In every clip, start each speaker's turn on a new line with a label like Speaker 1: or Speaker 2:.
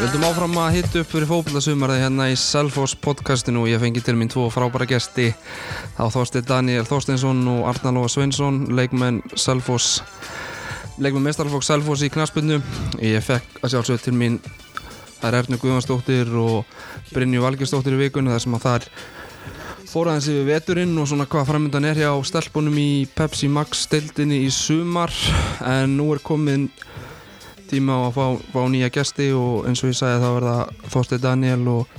Speaker 1: höldum áfram að hitta upp fyrir fókvöldasumarði hérna í Selfos podcastinu og ég fengi til mín tvo frábæra gesti þá Þorstein Daniel Þorsteinsson og Arnar Lóa Sveinsson leikmenn Selfos leikmenn mestarfólk Selfos í knaspunnu ég fekk að sjálfsög til mín þær Ernu Guðvansdóttir og Brynju Valgestóttir í vikunni þar sem að þar fór aðeins yfir veturinn og svona hvað framöndan er hjá stelpunum í Pepsi Max deildinni í sumar en nú er komin tíma á að fá, fá nýja gesti og eins og ég sagði þá verða Þorstein Daniel og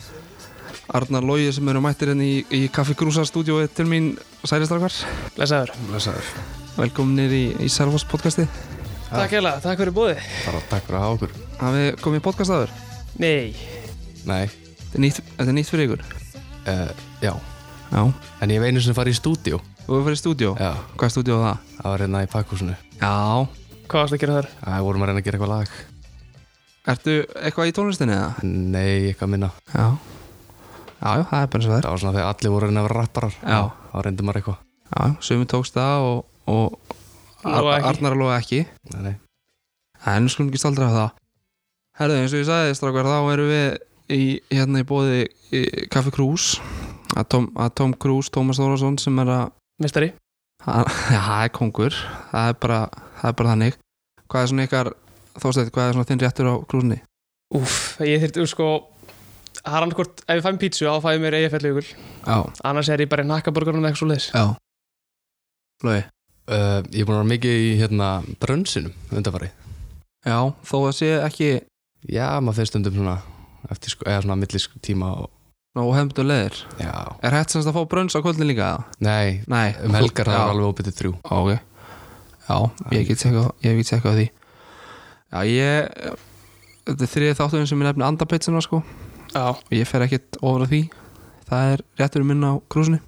Speaker 1: Arnar Lógi sem eru mættir henni í, í Kaffi Grúsa stúdiói til mín sælistrakvar
Speaker 2: Blesaður.
Speaker 3: Blesaður.
Speaker 1: velkominir í, í Selfos podcasti
Speaker 2: Takk hella, takk fyrir bóði.
Speaker 3: Bara takk fyrir að hafa okkur.
Speaker 1: hafið komið í podcast aður
Speaker 2: Nei,
Speaker 3: Nei,
Speaker 1: þetta er nýtt, þetta er nýtt fyrir ykkur
Speaker 3: uh, já.
Speaker 1: já og
Speaker 3: En ég hef einu sem farið í stúdíu.
Speaker 1: við fyrir stúdió
Speaker 3: Já,
Speaker 1: hvað er stúdió það?
Speaker 3: það var hérna í pakkhúsinu.
Speaker 1: já
Speaker 2: hvað varst að gera þar?
Speaker 3: Það vorum að reyna að gera eitthvað lag.
Speaker 1: ertu eitthvað í tónlistinni eða?
Speaker 3: Nei, eitthvað minna.
Speaker 1: já já, já, það er bara eins og það er
Speaker 3: Það var svona þegar allir voru að reyna að vera rapparar.
Speaker 1: Já.
Speaker 3: Þá reyndi maður eitthvað.
Speaker 1: já, sömu tókst það og, og Ar
Speaker 2: Lóa ekki.
Speaker 1: Arnar Lógi ekki
Speaker 3: Nei, nei.
Speaker 1: En við skulum ekki staldra af það Herðu, eins og ég sagði strákar þá erum við í, hérna í bóði í Kaffi Krús að Tom, að Tom Krús, Tómas Þórasson sem er að,
Speaker 2: Mestari?
Speaker 1: að já, það er kongur það er, bara, það er bara þannig Hvað er svona ykkar þóstætt, hvað er svona þinn réttur á Krúsni?
Speaker 2: Úff, ég þyrfti, sko, það er annarkort, ef ég fæ mér pítsu, þá fæ ég mér EFL-júkul.
Speaker 1: Já,
Speaker 2: Annars er ég bara í nakkaborgarnum eða eitthvað svo leiðis.
Speaker 1: já Lói
Speaker 3: Uh, ég er búin að vera mikið í hérna brönsinum undanfarið.
Speaker 1: Já, þó að sé ekki
Speaker 3: Já, maður fyrir stundum svona eftir sko, eða svona millis tíma og
Speaker 1: ná hefndu leðir
Speaker 3: já.
Speaker 1: Er hægt semst að fá brönns á kvöldin líka? eða?
Speaker 3: Nei,
Speaker 1: Nei,
Speaker 3: um helgar það
Speaker 1: Já.
Speaker 3: var alveg óbyttið þrjú.
Speaker 1: Á, ok Já, ég get tekað, ég hef ekki tekað á því Já, ég Þetta er þriðið þátturinn sem ég nefni andapitsuna sko og
Speaker 2: Já.
Speaker 1: ég fer ekkert ofra því Það er réttur minn á krúsinu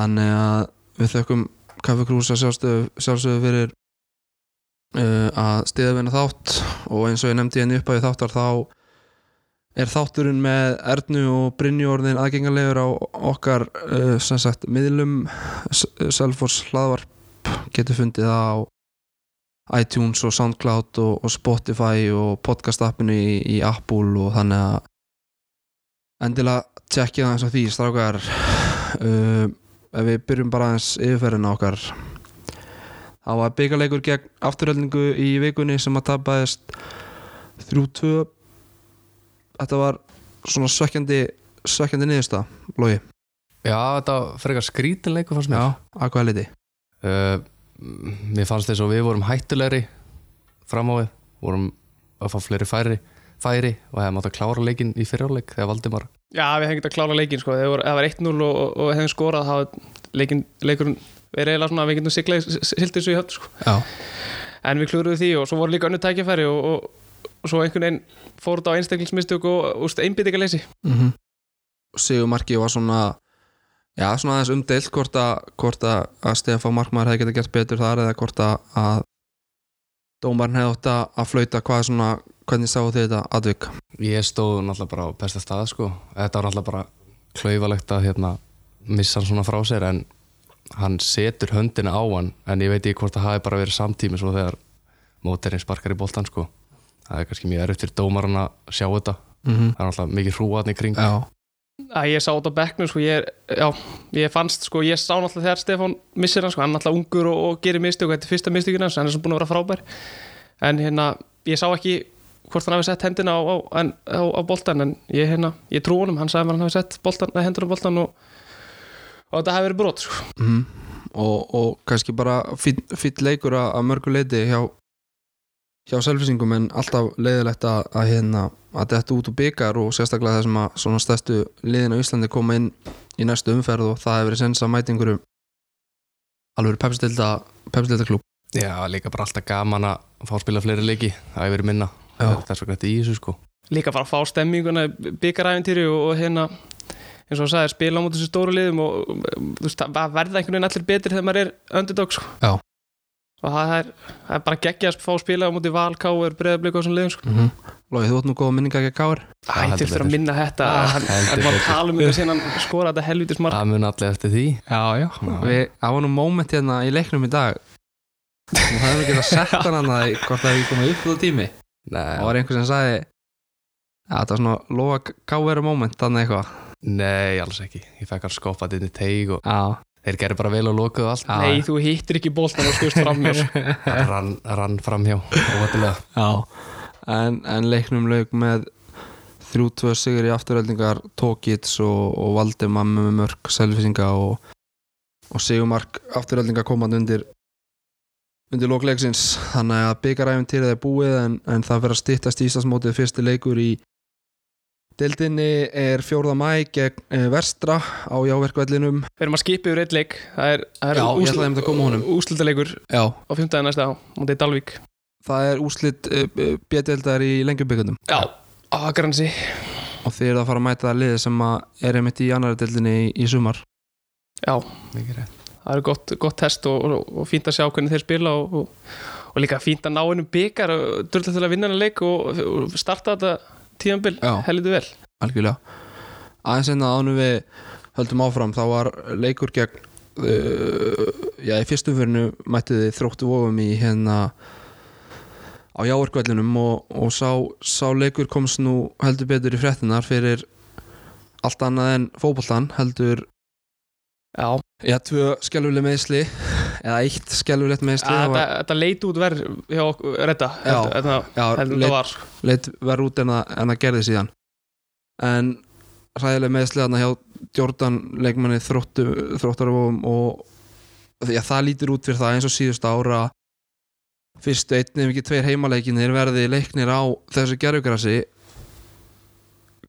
Speaker 1: Þannig að við þökkum Kaffi Krús að sjálfstöðu, sjálfstöðu fyrir uh, að stiða vinna þátt og eins og ég nefndi henni upp að þáttar þá er þátturinn með Ernu og Brynju orðin aðgengalegur á okkar uh, sem sagt miðlum Selfors hlaðvarp getur fundið það á iTunes og Soundcloud og, og Spotify og podcast appinu í, í Apple og þannig að endilega tjekkið aðeins á því strákar uh, ef við byrjum bara aðeins yfirferðin á okkar það var byggarleikur gegn afturhaldningu í vikunni sem að tapaðist 3-2 þetta var svona sökkjandi sökkjandi niðursta, Lógi
Speaker 3: Já, þetta var frekar skrítinleiku fannst mér.
Speaker 1: Já, að hvað leiti?
Speaker 3: Uh, mér fannst þess að við vorum hættulegri fram á við vorum að fá fleiri færi, færi og hefðum átt að klára leikinn í fyrirleik þegar Valdimar
Speaker 2: Já, við hefum getað að klála leikin, sko. Þegar voru- Það var 1-0 og, og, og hefum skorað, þá hafði leikin, leikurinn verið eiginlega svona að við getum siglað, sildið þessu í höfn, sko.
Speaker 1: Já,
Speaker 2: En við klúruðum því og svo voru líka önnu tækjafæri og, og, og svo einhvern veginn fór þetta á einstaklingsmistök og, og einbyttingaleysi.
Speaker 1: mm -hmm. Sigurmarki var svona já, svona aðeins umdeilt hvort að, hvort að, að Stefán Markmaður hefði getað gert betur þar eða hvort að, að dómarinn hefði átt að að flauta hvað er svona, hvernig sáu þið þetta atvik
Speaker 3: ég stóð náttúrulega bara á besta stað sko. þetta var náttúrulega bara klaufalegt að hérna, missa hann svona frá sér en hann setur höndina á hann en ég veit ekki hvort það hafi bara verið samtími svo þegar móterinn sparkar í boltan sko. það er kannski mjög erfitt fyrir dómarinn að sjá þetta
Speaker 1: mm -hmm.
Speaker 3: það er náttúrulega mikið hrúaðn í kring
Speaker 1: Já,
Speaker 2: að ég sá þetta á bekknum sko, ég, já, ég fannst sko, ég sá náttúrulega þegar Stefán missir hann, sko, hann er náttúrulega ungur og, og gerir mistök, þetta er fyrsta mistökin hans, hann er svona búin að vera frábær en hérna, ég sá ekki hvort hann hafi sett hendina á, á, en, á, á boltan, en ég hérna, ég trú honum hann sagði mér að hann hafi sett boltan, nei, hendur á boltan og, og þetta hafi verið brot sko.
Speaker 1: mm og, og kannski bara fýtt fýt leikur að, að mörgu leiti hjá hjá selfisingum en alltaf leiðilegt að, að hérna að þetta út og byggar og sérstaklega þessum að svona stærstu liðin á Íslandi koma inn í næstu umferð og það hefur verið sens að mæta einhverjum alveg pepsdelda pepsdelda klub
Speaker 3: Já, líka bara alltaf gaman að fá að spila fleiri leiki Það hefur verið minna Það er svo grætt í þessu sko
Speaker 2: líka bara að fá stemminguna byggaræfintýri og, og hérna eins og hann sagði, spila á móti þessu stóru liðum og um, þú veist, það verða einhvern veginn allir betri þegar maður er underdog sko.
Speaker 1: Já.
Speaker 2: og það er, það er bara geggja að fá að spila á móti Val, Káur, Breiðablík og svona liðum sko.
Speaker 1: mm -hmm. Lói, þú átt nú góða minninga ekki að káir
Speaker 2: Æ,
Speaker 3: heldur
Speaker 2: þú fyrir
Speaker 3: betur.
Speaker 2: að minna þetta
Speaker 3: Ah,
Speaker 2: hann,
Speaker 3: heldur
Speaker 2: hann var að
Speaker 3: betur.
Speaker 2: tala um þetta síðan hann skora þetta helvitis mark
Speaker 3: Það mun allir eftir því
Speaker 1: Já, já, Við, það var nú moment hérna í leiknum í dag og það hefur ekki að setja hann að hvort það hefur komið upp á tími
Speaker 3: Nei,
Speaker 1: Það var einhver sem sagði ja, þetta var svona lofa káveru moment þannig eitthvað
Speaker 3: Nei, alls ekki. Ég fekk að skoppa þetta inn í teig og
Speaker 1: já,
Speaker 3: þeir gerði bara vel og lokuðu allt.
Speaker 1: Já.
Speaker 2: Nei, þú hittir ekki boltan og skust fram mér sko.
Speaker 3: Það rann, rann fram hjá, óvætilega.
Speaker 1: já. En, en leiknum lauk með 3-2 sigur í afturöldingar Tókits og, og Valdimam með mörg selfisinga og, og sigumark afturöldinga komandi undir undir lókleiksins þannig að byggaræfintýrið er búið en, en það verður að styttast í Íslandsmótið fyrsti leikur í Deildinni er 4. mæ gegn eh, Vestra á jáverkvellinum
Speaker 2: Við erum að skipa yfir eitt leik Það er, það er
Speaker 1: Já, ég ætlaði einmitt að koma að honum.
Speaker 2: úslitaleikur
Speaker 1: Já,
Speaker 2: á fymtaði næsta á Mótið Dalvík
Speaker 1: það er úslit bjöldildar í lengjumbyggundum
Speaker 2: Já, Akransi
Speaker 1: og þið eru að fara að mæta það liði sem að er einmitt í annari deildinni í, í sumar
Speaker 2: Já,
Speaker 3: Mikið rétt.
Speaker 2: það er gott, gott test og, og, og fínt að sjá hvernig þeir spila og, og, og líka fínt að ná einum byggar og dörla til að vinna hennar leik og, og starta þetta tíðanbill
Speaker 1: Já.
Speaker 2: heldur vel
Speaker 1: algjörlega aðeins hérna en að ánum við höldum áfram þá var leikur gegn uh, já, í fyrstum fyrinu mættu þið þróttu vofum í hérna á jáverkvellinum og, og sá, sá leikur komst nú heldur betur í fréttinar fyrir allt annað en fótboltan heldur
Speaker 2: Já,
Speaker 1: Já, tvö skelvuleg meðsli eða eitt skelvulegt meðsli
Speaker 2: Að
Speaker 1: það var-
Speaker 2: þetta, þetta leit út verð hjá okkur redda
Speaker 1: Já.
Speaker 2: heldur en það-
Speaker 1: Já,
Speaker 2: heldur en
Speaker 1: leit-
Speaker 2: það var sko.
Speaker 1: leitt verð út en að, en að gerði síðan en ræðileg meðsli þarna hjá Jordan leikmanni þróttu, þróttarvofum og já, það lítur út fyrir það eins og síðust ára fyrstu einn ef ekki tveir heimaleikinir verði leiknir á þessu gerfugrasi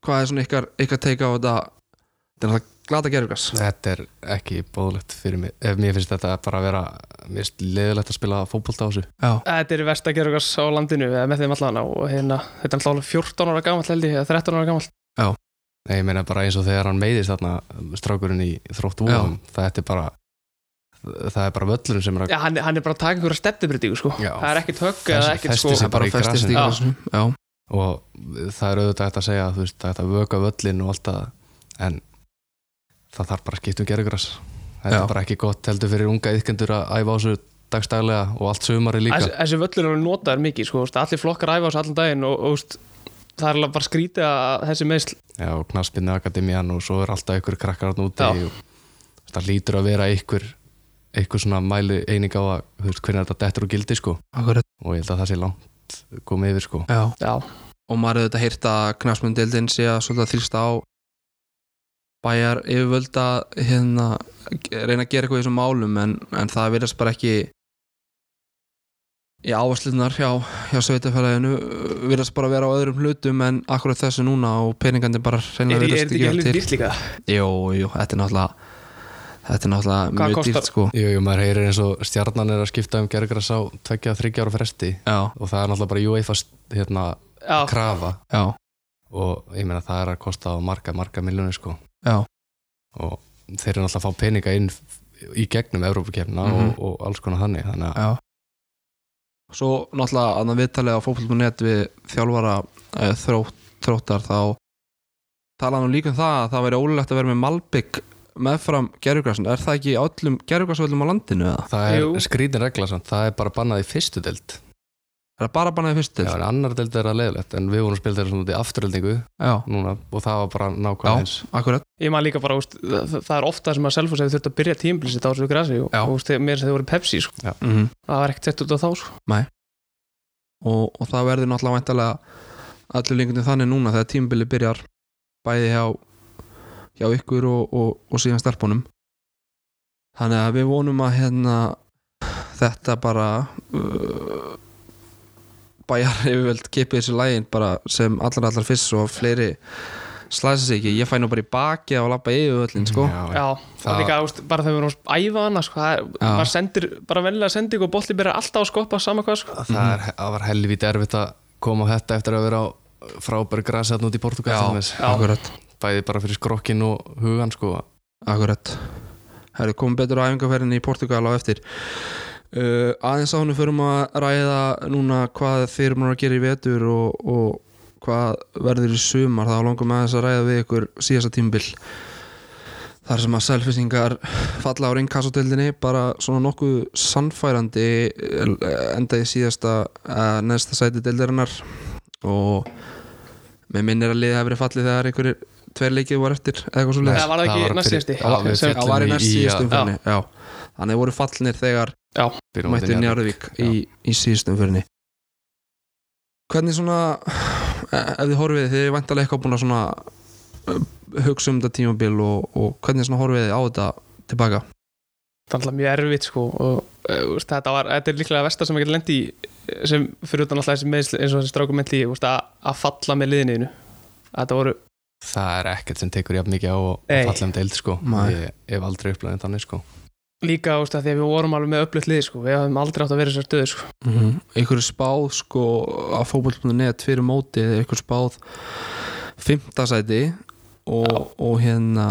Speaker 1: hvað er svona ykkar, ykkar teika á þetta þetta er náttúrulega glata gerfugras
Speaker 3: Þetta er ekki bóðlegt fyrir mig. Ef mér finnst þetta bara að vera, mér finnst leðilegt að spila fótbolta á þessu.
Speaker 1: Já,
Speaker 2: Þetta er verst að gera okkar á landinu eða með þeim allan og hérna, þetta er alltaf alveg 14 ára gamalt held ég, eða 13 ára gamalt
Speaker 3: Nei, ég meina bara eins og þegar hann meiðist þarna, strákurinn í þróttu vóðum, þetta er bara, það er bara völlurinn sem er að
Speaker 2: Já, hann, hann er bara að taka einhverja stefnubrytíku sko
Speaker 3: Já.
Speaker 2: Það er ekkert högg
Speaker 3: Fest-
Speaker 2: eða ekkert sko
Speaker 3: festir sig
Speaker 1: það bara
Speaker 3: í
Speaker 1: festist í
Speaker 2: grasinu.
Speaker 1: grasinu Já,
Speaker 3: og það er auðvitað hægt að segja þú veist, það er hægt að vöka völlin og allt það en það þarf bara að skipta um gerugras þetta
Speaker 1: Já.
Speaker 3: er bara ekki gott heldur fyrir unga yðkendur að æfa á þessu dagstaglega og allt sömari líka
Speaker 2: Þessi, þessi völlur eru notaður mikið sko, þú veist, allir flokkar æfa á þessu allan daginn og, og þú veist, það er alveg bara skrítið að þessi meðsl
Speaker 3: Já, og knaspinni akademian og svo er alltaf ykkur krakkar hann úti
Speaker 2: Já.
Speaker 3: og þú veist, það lítur að vera ykkur ykkur svona mæli eining á að þú veist, hvernig þetta dettur og gildi sko
Speaker 1: akkurat
Speaker 3: og ég held að það sé langt komið yfir sko
Speaker 1: Já
Speaker 2: Já,
Speaker 1: og maður hefur þetta heyrt að knafsmyndeldin sé að svolítið að þrýsta á bæjar yfirvöld að hérna, reyna að gera eitthvað í þessum málum en, en það virðast bara ekki í áherslunar hjá, hjá sveitafélaginu uh, virðast bara vera á öðrum hlutum en akkurat þessu núna og peningandi bara
Speaker 2: er,
Speaker 1: reyna
Speaker 2: er, er
Speaker 1: virðast
Speaker 2: þetta ekki
Speaker 1: ekki vera
Speaker 2: heldur
Speaker 1: til
Speaker 2: dýrt líka?
Speaker 1: Jú, jú, þetta er náttúrulega þetta er náttúrulega
Speaker 2: Hvað
Speaker 1: mjög
Speaker 2: kostar-
Speaker 1: dýrt sko
Speaker 3: Jú, jú, maður heyrir eins og stjarnan er að skipta um gerugras á 20-30 ára fresti
Speaker 1: Já,
Speaker 3: og það er náttúrulega bara UEFA hérna,
Speaker 2: Já,
Speaker 3: krafa
Speaker 1: já,
Speaker 3: og ég meina það er að kosta á marga, marga miljónir sko
Speaker 1: Já.
Speaker 3: og þeir eru náttúrulega að fá peninga inn í gegnum Evrópukefna
Speaker 1: Mhm.
Speaker 3: og, og alls konar þannig þannig að
Speaker 1: já Svo náttúrulega að það viðtalið á fótboll.net við þjálfara eh, þrótt, þróttar þá tala nú líka um það að það væri ólulegt að vera með Malbygg meðfram gerjugrasin er það ekki á öllum gerjugrasvöldum á landinu eða?
Speaker 3: það er
Speaker 2: Jú.
Speaker 3: skrítin regla samt, það er bara bannað í fyrstu deild
Speaker 1: Er það bara bannaði fyrst til?
Speaker 3: Já, en annar deild er að leiðilegt en við vorum að spila þeirra svona út í afturöldingu
Speaker 1: Já,
Speaker 3: núna og það var bara
Speaker 1: Já.
Speaker 3: nákvæmlega eins
Speaker 1: akkurat
Speaker 2: ég maður líka bara, þú veist, það, það er ofta sem að Selfoss hefur þurft að byrja tímblísitt á þessu grasi og,
Speaker 1: Já.
Speaker 2: og þú veist, mér sem þau voru í Pepsi sko.
Speaker 1: mm
Speaker 2: það var ekkert sett út á þá sko.
Speaker 1: og, og það verður náttúrulega væntalega allir lengundum þannig núna þegar tímabili byrjar bæði hjá, hjá ykkur og, og, og síðan stelpunum þannig að við vonum að hérna þetta bara uh, bæjar yfirvöld kipið þessu lægin bara sem allra allra fyrst svo fleiri slæsa sig ekki, ég fæ nú bara í baki og lappa yfirvöldin sko
Speaker 3: Já,
Speaker 2: Já,
Speaker 3: það-
Speaker 2: og líka, þú veist, bara þegar við vorum að æfa hana sko, það er,
Speaker 1: Já.
Speaker 2: maður sendir, bara venlega sending og bolli byrja alltaf að skoppa sama hvað sko.
Speaker 3: það, er, það var helvítið erfitt að koma á þetta eftir að vera á frábær grasa út í Portugal til dæmis.
Speaker 2: Já.
Speaker 1: akkurat
Speaker 3: bæði bara fyrir skrokkin og hugan sko
Speaker 1: Akkurat Það eru komið betur á æfingarferðinni í Portugal á eftir uh, Aðeins á hennu förum að ræða núna hvað þeir eru múin að gera í vetur og, og hvað verður í sumar þá langum aðeins að ræða við ykkur síðasta tímbil þar sem að selfisingar falla á ringkassotöldinni bara svona nokkuð sannfærandi eh, enda í síðasta eh, neðsta sæti deildarinnar og með minnir að liðið hafi verið fallið þegar einhverjir tveir leikið voru eftir eða eitthvað svo
Speaker 2: Nei, það var það ekki
Speaker 3: var
Speaker 2: næst
Speaker 3: fyrir-
Speaker 2: síðasti
Speaker 3: það var
Speaker 2: Ok,
Speaker 3: við
Speaker 2: sem-
Speaker 1: það var í
Speaker 3: í-
Speaker 1: næst
Speaker 3: í-
Speaker 1: síðustum
Speaker 2: já.
Speaker 1: fyrir já. þannig að voru fallnir þegar
Speaker 2: Já,
Speaker 3: Byrjum á móti
Speaker 1: mættu
Speaker 3: Njarðvík.
Speaker 1: Njarðvík í, í síðustum fyrirni hvernig svona e- ef þið horfið, þið er væntalega eitthvað búin að svona eh, hugsa um þetta tímabil og, og hvernig svona horfið þið á þetta tilbaka
Speaker 2: það er alltaf mjög erfitt sko og uh, úst, þetta, var, þetta er líklega versta sem ég geti lendi í eh, sem fyrir utan alltaf þessi meðsl eins og þessi strákum lendi í úst, að, að falla með liðinu þetta voru,
Speaker 3: það er ekkert sem tekur jafn mikið á og
Speaker 2: Nei.
Speaker 3: falla um deild sko
Speaker 1: Nei.
Speaker 3: ég hef aldrei upplæðin þannig sko
Speaker 2: líka úst, að því að við vorum alveg með upplöðt lið sko við hafum aldrei átt að vera í þessar stöðu sko
Speaker 1: mm -hmm. ykkur er spáð sko að fótboll.net fyrir mótið er ykkur spáð fymtasæti
Speaker 2: Já.
Speaker 1: og, og hérna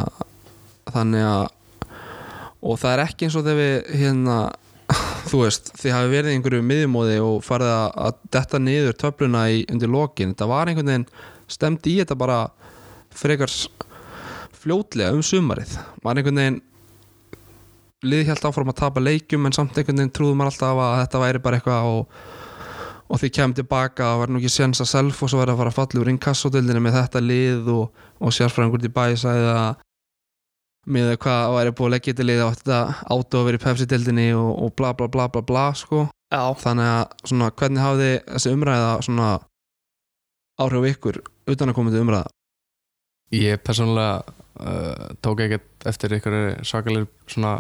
Speaker 1: þannig að og það er ekki eins og þegar við hérna þú veist, þið hafi verið í einhverju miðjumóði og farið að, að detta niður töfluna í, undir lokin, þetta var einhvern veginn stemdi í þetta bara frekar s- fljótlega um sumarið var einhvern veginn liði hjælt áfram að tapa leikjum en samt einhvern veginn trúðum maður alltaf að þetta væri bara eitthvað og, og því kemur tilbaka að var nú ekki séns að self og svo verið að fara að falla úr inkassodildinu með þetta lið og, og sérfræðingur til bæ sagði að með hvað væri búið að leggja til lið átti þetta átó að vera í pepsi-dildinni og, og bla bla bla bla bla sko
Speaker 2: já,
Speaker 1: þannig að svona hvernig hafði þessi umræða svona áhrif á ykkur utan að koma til umræða
Speaker 3: ég persónulega uh, tók ekkert eftir ykkur svakalir svona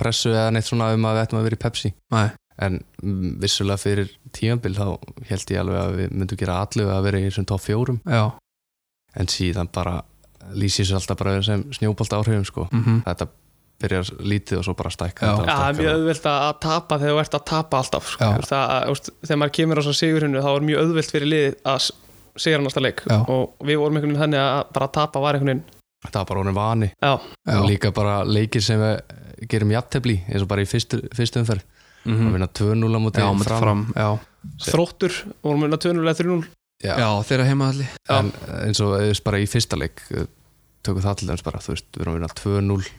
Speaker 3: pressu eða neitt svona um að við ættum að vera í Pepsi
Speaker 1: Nei.
Speaker 3: en mm, vissulega fyrir tímanbíl þá held ég alveg að við myndum gera allu að vera í þessum top fjórum
Speaker 1: já
Speaker 3: en síðan bara lýsi sér alltaf bara sem snjóbolt áhrifum sko
Speaker 1: mm -hmm.
Speaker 3: þetta byrjar lítið og svo bara stækka
Speaker 1: Já.
Speaker 3: þetta og
Speaker 2: Já, það er
Speaker 3: stækkar
Speaker 2: mjög
Speaker 3: og-
Speaker 2: auðvelt að að tapa þegar þú ert að tapa alltaf sko.
Speaker 1: Já.
Speaker 2: Þú veist, það, að, úst, þegar maður kemur á svo sigurinu þá er mjög auðvelt fyrir liðið að s- sigra næsta leik
Speaker 1: Já.
Speaker 2: og við vorum einhvern veginn þannig að bara að tapa var einhvern veginn
Speaker 3: þetta var bara honum vani
Speaker 2: já,
Speaker 3: og líka bara leikir sem við gerum jafntefli eins og bara í fyrstu, fyrstu umferð
Speaker 1: mm
Speaker 3: að vinna 2-0 á móti
Speaker 1: já, með fram, fram. Já.
Speaker 2: þróttur, vorum við tönnulega 3-0
Speaker 3: Já.
Speaker 1: já, þeirra heimaðalli
Speaker 2: Já.
Speaker 3: en eins og eða bara í fyrsta leik eh, tökum það til dæmis bara, þú veist, við erum að vinna 2-0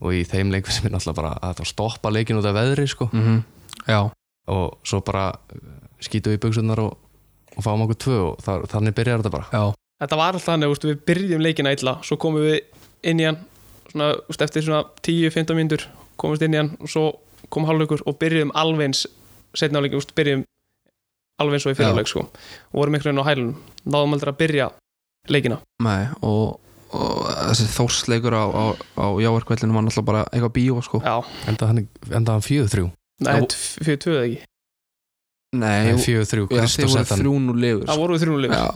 Speaker 3: og í þeim leik sem er náttúrulega bara að þetta stoppa leikin út af veðri sko.
Speaker 1: mm já
Speaker 3: og svo bara eh, skítum við í buksunar og, og fáum okkur tvö og þar, þannig byrjar þetta bara
Speaker 1: Já,
Speaker 2: þetta var alltaf þannig, úst, við byrjum leikina illa svo komum við inn í hann svona, úst, eftir svona 10-15 mínútur komumst inn í hann og svo kom hálfleikur og byrjum alveg eins setna áleikin, úst, byrjum alveg eins og í
Speaker 1: Já.
Speaker 2: fyrirleik sko. og vorum einhvern veginn á hælunum náðum aldrei að byrja leikina
Speaker 1: nei, og, og þessi þórsleikur á, á, á jáverkvellinu var náttúrulega bara eitthvað bíó sko
Speaker 2: já,
Speaker 3: enda hann, enda hann 4-3
Speaker 2: Nei,
Speaker 1: Já,
Speaker 2: þetta er fyrir tvöðu ekki
Speaker 1: Nei,
Speaker 3: Nei,
Speaker 1: og-
Speaker 3: 4-3,
Speaker 1: já, þeir
Speaker 3: Kristóf
Speaker 1: voru
Speaker 3: sett hann
Speaker 1: þrjún úr liður sko.
Speaker 2: Það voru við þrjúnulegur Já,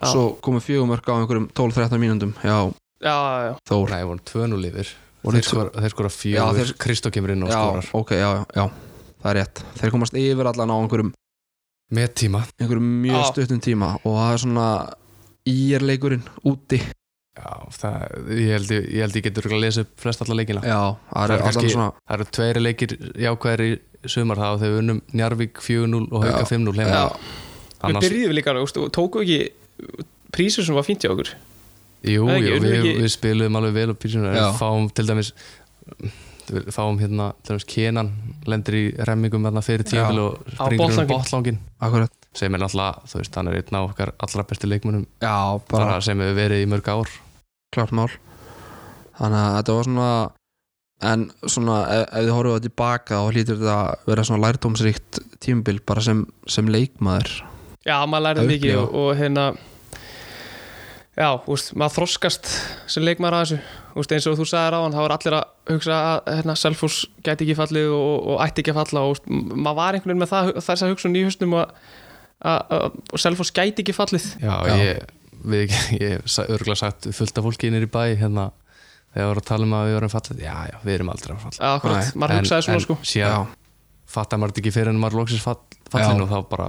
Speaker 1: Já, svo komu fjögumörk á einhverjum 12-13 mínúndum Já,
Speaker 2: já, já
Speaker 1: Þór
Speaker 3: Nei, voru 2-0 yfir
Speaker 1: Voru
Speaker 3: Þeir
Speaker 1: tvö-
Speaker 3: skora- þeir skora
Speaker 1: Já,
Speaker 3: 4,
Speaker 1: þeir-
Speaker 3: Kristóf kemur inn og
Speaker 1: Já,
Speaker 3: skorar
Speaker 1: ok, já, já, já, það er rétt Þeir komast yfir allan á einhverjum,
Speaker 3: með tíma
Speaker 1: einhverjum mjög
Speaker 2: Já.
Speaker 1: stuttum tíma og það er svona íerleikurinn úti
Speaker 3: Já, það, ég, held, ég, ég held ég getur örugglega að lesa upp flest alla leikina
Speaker 1: Já, það
Speaker 3: Það
Speaker 1: er
Speaker 3: er
Speaker 1: allan
Speaker 3: kannski-
Speaker 1: svona
Speaker 3: Það eru tveiri leikir jákvæðir í sumar þá þegar við unnum Njarvík 4-0 og Hauka
Speaker 1: Já.
Speaker 3: 5-0 heima.
Speaker 1: Já,
Speaker 2: Við
Speaker 3: Annars,
Speaker 2: byrjuðum líka, úst, og tókum við ekki prísur sem var fínt hjá okkur
Speaker 3: jú,
Speaker 2: Nei, ekki,
Speaker 3: jú,
Speaker 2: unnum
Speaker 3: við,
Speaker 2: ekki-
Speaker 3: við spiluðum alveg vel og písinu
Speaker 1: Já.
Speaker 3: en fáum til dæmis við fáum hérna, til dæmis Kenan lendir í remmingum hérna fyrir tímil
Speaker 1: Já.
Speaker 3: og
Speaker 2: Á
Speaker 3: springur um
Speaker 2: botnlanginn.
Speaker 3: botlangin
Speaker 1: akkurat
Speaker 3: sem er náttúrulega, þú veist, hann er einn af okkar allra bestu leikmunum
Speaker 1: Já, bara
Speaker 3: bara sem hefur verið í mörg ár
Speaker 1: klart mál þannig að þetta var svona en svona ef, ef þið horfum það tilbaka þá hlýtur þetta að vera svona lærdómsríkt tímabil bara sem, sem leikmaður
Speaker 2: Já, maður lærið
Speaker 1: Það
Speaker 2: mikið
Speaker 1: upplifa.
Speaker 2: og, og hérna Já, úst, maður þroskast sem leikmaður að þessu úst, eins og þú sagðir á hann, þá var allir að hugsa að hérna, Selfos gæti ekki fallið og, og ætti ekki að falla og úst, m- maður var einhvern veginn með það, þess að hugsa í hausnum að- að að- og Selfos gæti ekki fallið
Speaker 3: Já,
Speaker 1: Já.
Speaker 3: ég, við, ég hef sa- örugglega sagt fullt af fólki innir í bæ hérna, þegar við vorum að tala um að við vorum fallið já, já, við erum aldrei að falla
Speaker 2: Já, akkurat,
Speaker 1: Nei,
Speaker 2: maður hugsaði svona
Speaker 3: en
Speaker 2: sko
Speaker 3: síðan fattar maður þetta ekki fyrir en maður loksins fall, fallin
Speaker 1: Já.
Speaker 3: og þá bara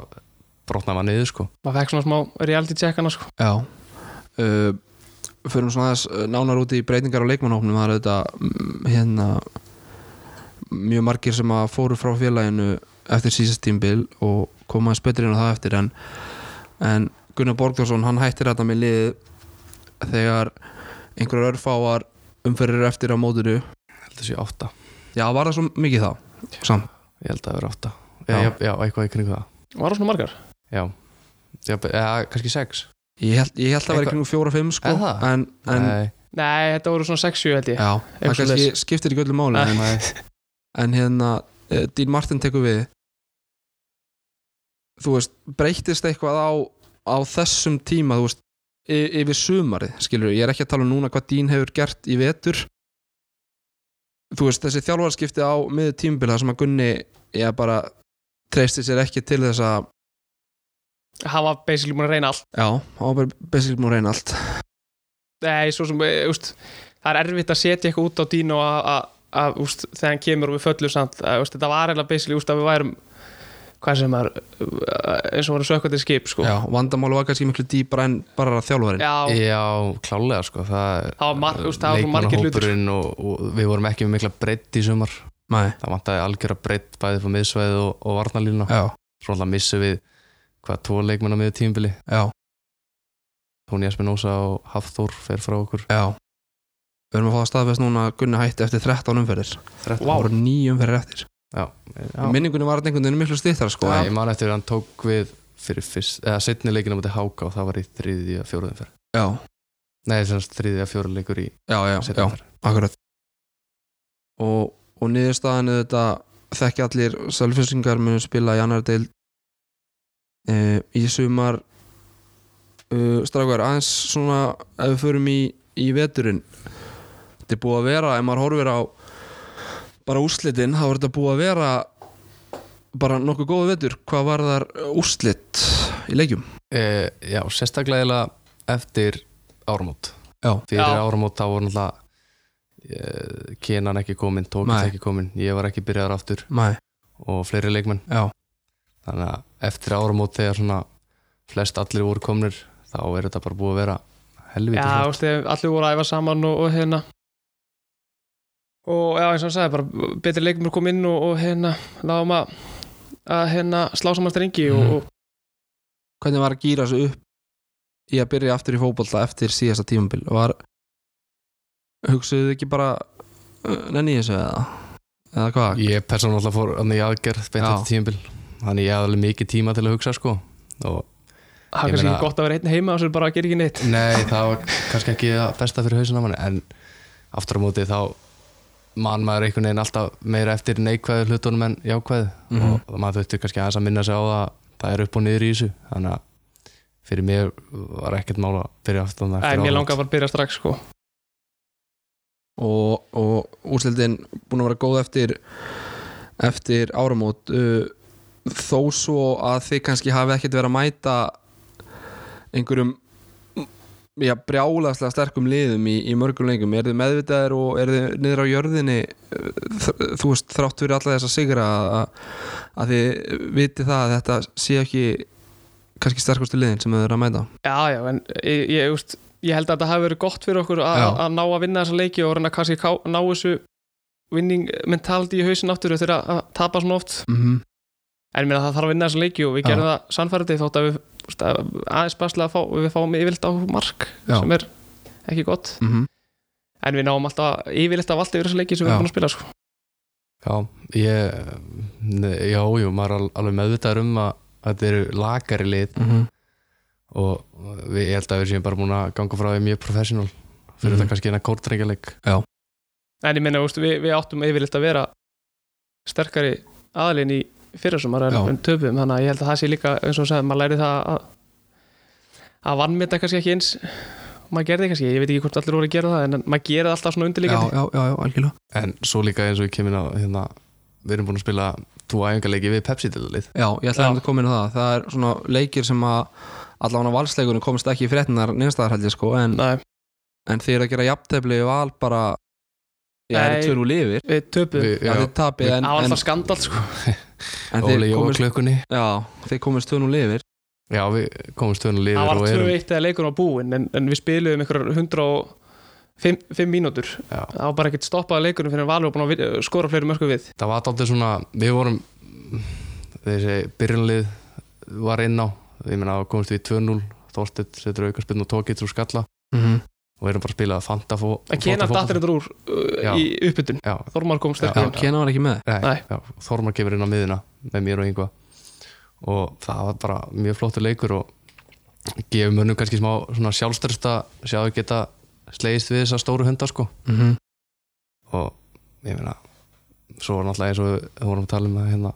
Speaker 3: brotnar maður niður sko
Speaker 2: maður fekk svona smá reality checkana sko
Speaker 1: Já uh, Förum svona þess nánar út í breytingar á leikmannhóknum það er auðvitað mm, hérna mjög margir sem að fóru frá félaginu eftir síðast tímbil og koma aðeins betri inn á það eftir en, en Gunnar Borgdórsson hann hættir þetta með liðið þegar einhverjar örfáar umferðir eftir á mótinu
Speaker 3: ég held að sé átta,
Speaker 1: Já, var það svo mikið þá samt
Speaker 3: ég held að vera átta Eh,
Speaker 1: Já.
Speaker 3: já, já, já eitthvað í kringu það
Speaker 2: Var það svona margar?
Speaker 3: já, já be- eða kannski sex
Speaker 1: Ég held, ég held að það væri
Speaker 3: Eitthvað-
Speaker 1: kringum fjóra fimm sko
Speaker 3: Er það?
Speaker 1: En, en
Speaker 3: Nei,
Speaker 2: Nei, þetta voru svona 60 held ég
Speaker 1: já, það
Speaker 2: Eitthvað
Speaker 1: kannski skiptir ekki öllu máli en,
Speaker 3: nei,
Speaker 1: en hérna, uh, Dean Martin tekur við Þú veist, breytist eitthvað á á þessum tíma, þú veist y- yfir sumarið, skilur ég er ekki að tala um núna hvað Dean hefur gert í vetur Þú veist, þessi þjálfarskipti á miður tímbil þar sem að Gunni, ég bara treysti sér ekki til þess að
Speaker 2: Hann var basically búin að reyna allt
Speaker 1: já, hann var bara basically múið reyna allt
Speaker 2: Nei, svo sem, eh, úst, það er erfitt að setja eitthvað út á Dino að- að- að, úst, þegar hann kemur og við föllum samt að, úst, þetta var eiginlega basically, úst, að við værum hvað sem er, eh, eins og varum sökkvandi skip, sko
Speaker 1: Já, vandamálu var kannski miklu dýpra en bara þjálfarinn
Speaker 2: Já,
Speaker 3: já, klálega sko það er
Speaker 2: það var, mar, úst, það var svo margir hlutur
Speaker 3: leikmannahópurinn og, og við vorum ekki með mikla breytt í sumar
Speaker 1: Nei,
Speaker 3: það vantaði algjöra breytt bæði fyrir miðsvæðið og, og varnalínuna
Speaker 1: já,
Speaker 3: svo alltaf missum við hvað tvo leikmenn á miður tímbili
Speaker 1: já,
Speaker 3: Tóni Espinosa og Hafþór fer frá okkur
Speaker 1: já Við erum að fá að staðfest núna að Gunni hætti eftir 13 umferðir
Speaker 2: Vá.
Speaker 1: Það voru nýjum umferðir eftir
Speaker 3: já,
Speaker 1: Minningunni var þetta einhvern veginn miklu stýttar sko
Speaker 3: Nei,
Speaker 1: en-
Speaker 3: ég man eftir að hann tók við fyrir fyrst, eða setni leikinu á móti Háka og það var í þriðja fjóruðum fer
Speaker 1: Já,
Speaker 3: nei, þess að þriðja fjóruð leikur í
Speaker 1: já, já, já,
Speaker 3: setni fer
Speaker 1: akkurat Og, og niðurstaðan þetta þekki allir selfisingar munu spila í annar deil e, í sumar e, strafgar aðeins svona ef við förum í, í veturinn þetta er búið að vera ef maður horfir á bara úrslitin þá er þetta búið að vera bara nokkuð góð vetur hvað var þar úrslit í leikjum
Speaker 3: e, já, sérstaklega eiginlega eftir áramót
Speaker 1: Já.
Speaker 3: fyrir
Speaker 2: Já.
Speaker 3: áramót þá voru náttúrulega e, Kenan ekki komin, Tókins
Speaker 1: Nei.
Speaker 3: ekki komin ég var ekki byrjaðar aftur
Speaker 1: Mæ,
Speaker 3: og fleiri leikmenn
Speaker 1: já,
Speaker 3: þannig að eftir áramót þegar svona flest allir voru komnir þá er þetta bara búið að vera helvítið
Speaker 2: Já,
Speaker 3: flott.
Speaker 2: úst, allir voru að æfa saman og, og hérna og já, eins og hann sagði, bara betri leikmur kom inn og, og hérna, náðum að að hérna slá saman strengi og,
Speaker 1: Mhm.
Speaker 2: og
Speaker 1: hvernig var að gýra þessu upp í að byrja aftur í fótbolta eftir síðasta tímabil var hugsuðu þið ekki bara uh, nenni ég þessu eða eða hvað
Speaker 3: Ég persónulega fór þannig í aðgerð beint
Speaker 1: Já.
Speaker 3: eftir tímabil þannig ég hafði alveg mikið tíma til að hugsa sko
Speaker 2: það
Speaker 3: og Ég
Speaker 2: er kannski
Speaker 3: meina-
Speaker 2: ekki gott að vera einn heima og svo bara að gera ekki neitt
Speaker 3: nei það var kannski ekki að besta fyrir hausinn á manni en aftur á móti þá mann maður einhvern veginn alltaf meira eftir neikvæðu hlutunum en jákvæðu
Speaker 1: Mhm.
Speaker 3: og maður þurfti kannski aðeins að minna sig á það að það er upp og niður í þessu þannig að fyrir mér var ekkert mála fyrir aftan Mm, það
Speaker 2: en
Speaker 3: eftir
Speaker 2: ég
Speaker 3: áramót.
Speaker 2: langaði bara að byrja strax sko
Speaker 1: og, og úrslitin búin að vera góð eftir eftir áramót uh, þó svo að þið kannski hafi ekkert verið að mæta einhverjum já, brjálaslega sterkum liðum í, í mörgum leikum, er þið meðvitaðir og er þið niður á jörðinni uh, þ- þú veist, þrátt fyrir alla þess að sigra að, að þið viti það að þetta sé ekki kannski sterkustu liðin sem þið eru að mæta
Speaker 2: Já, já, en eh, ég, ég, úst, ég held að þetta hafi verið gott fyrir okkur að
Speaker 1: Já.
Speaker 2: að ná að vinna þessa leiki og reyna að kannski ká- ná þessu vinning mentaldi í hausin aftur þegar að tapa svona oft
Speaker 1: mm -hmm.
Speaker 2: en ég meina það þarf að vinna þessa leiki og við
Speaker 1: Já.
Speaker 2: gerum það sannfærandi þótt að við úst, að aðeins basla að fá, við fáum yfirleitt á mark
Speaker 1: Já.
Speaker 2: sem er ekki gott
Speaker 1: mhm,
Speaker 2: en við náum alltaf yfirleitt af allt yfir þessa leiki sem við
Speaker 1: Já.
Speaker 2: erum búin að spila sko.
Speaker 3: Já, ég, ne- já, jú, maður er al- alveg meðvitaður um að að þetta eru lagari lit
Speaker 1: Mm -hmm.
Speaker 3: og við, ég held að við séum bara múin að ganga frá því mjög professional fyrir
Speaker 1: Mhm.
Speaker 3: þetta kannski hérna kórtrengjarleik
Speaker 2: en ég meina, úst, við, við áttum yfirleitt að vera sterkari aðlinn í fyrirsumar en,
Speaker 1: Já.
Speaker 2: en töpum, þannig að ég held að það sé líka eins og sagði, maður læri það að að vannmeta kannski ekki eins og maður gerði kannski, ég veit ekki hvort allir voru að gera það en maður gerði alltaf svona
Speaker 1: já,
Speaker 2: undirlíkandi
Speaker 1: já, já, já, algjörlega
Speaker 3: en svo líka eins og ég kemur á hérna, við erum búin að spila tvo æfingarleiki við Pepsi til lið
Speaker 1: Já, ég ætla
Speaker 2: Já.
Speaker 1: að koma inn á það Það er svona leikir sem að allavega valsleikunum komst ekki í fréttinar nýrstaðar held ég sko en,
Speaker 2: Nei,
Speaker 1: en þið eru að gera jafntefli og val bara Já, það
Speaker 2: Nei.
Speaker 1: eru tvölu lifir
Speaker 2: við töpum
Speaker 3: Við-
Speaker 1: Já,
Speaker 3: já,
Speaker 1: þið tapið en,
Speaker 2: það var
Speaker 1: en,
Speaker 2: alltaf skandal sko
Speaker 1: en þið
Speaker 3: Óli Jó
Speaker 1: komist,
Speaker 3: klukkunni
Speaker 1: já, þið komist tvölu lifir
Speaker 3: Já, við komum stöðun og
Speaker 2: það
Speaker 3: liður
Speaker 2: var
Speaker 3: og erum
Speaker 2: 2-1 eða leikur á búin en, en við spiluðum einhverjar 105 5 mínútur
Speaker 3: já,
Speaker 2: það var bara ekkert stoppaði leikunum fyrir að Valur var búin að vi- skora fleiri mörku við
Speaker 3: Það var alltaf svona, við vorum þessi byrjunlið var inn á, ég meina komumst við í 2-0 Þorstedt setur aukarspinn og tókið úr skalla
Speaker 1: mm
Speaker 2: Mhm.
Speaker 1: -hmm.
Speaker 3: og erum bara að spila Fanta fó,
Speaker 2: en Kenan
Speaker 3: Fanta
Speaker 2: dattir þetta úr
Speaker 3: Já.
Speaker 2: uh, í uppbytun
Speaker 3: Já,
Speaker 2: Þormar kom
Speaker 1: Já,
Speaker 2: sterkur inn.
Speaker 1: Kena var ekki með
Speaker 3: nei,
Speaker 2: Nei.
Speaker 3: Já, Þormar kemur inn á miðina með mér og yngva og það var bara mjög flottur leikur og gefur mönnum kannski smá svona sjálfstörst að sjá að geta slegist við þessa stóru hunda sko
Speaker 1: mm -hmm.
Speaker 3: og ég meina svo var náttúrulega eins og við vorum að tala um að hérna,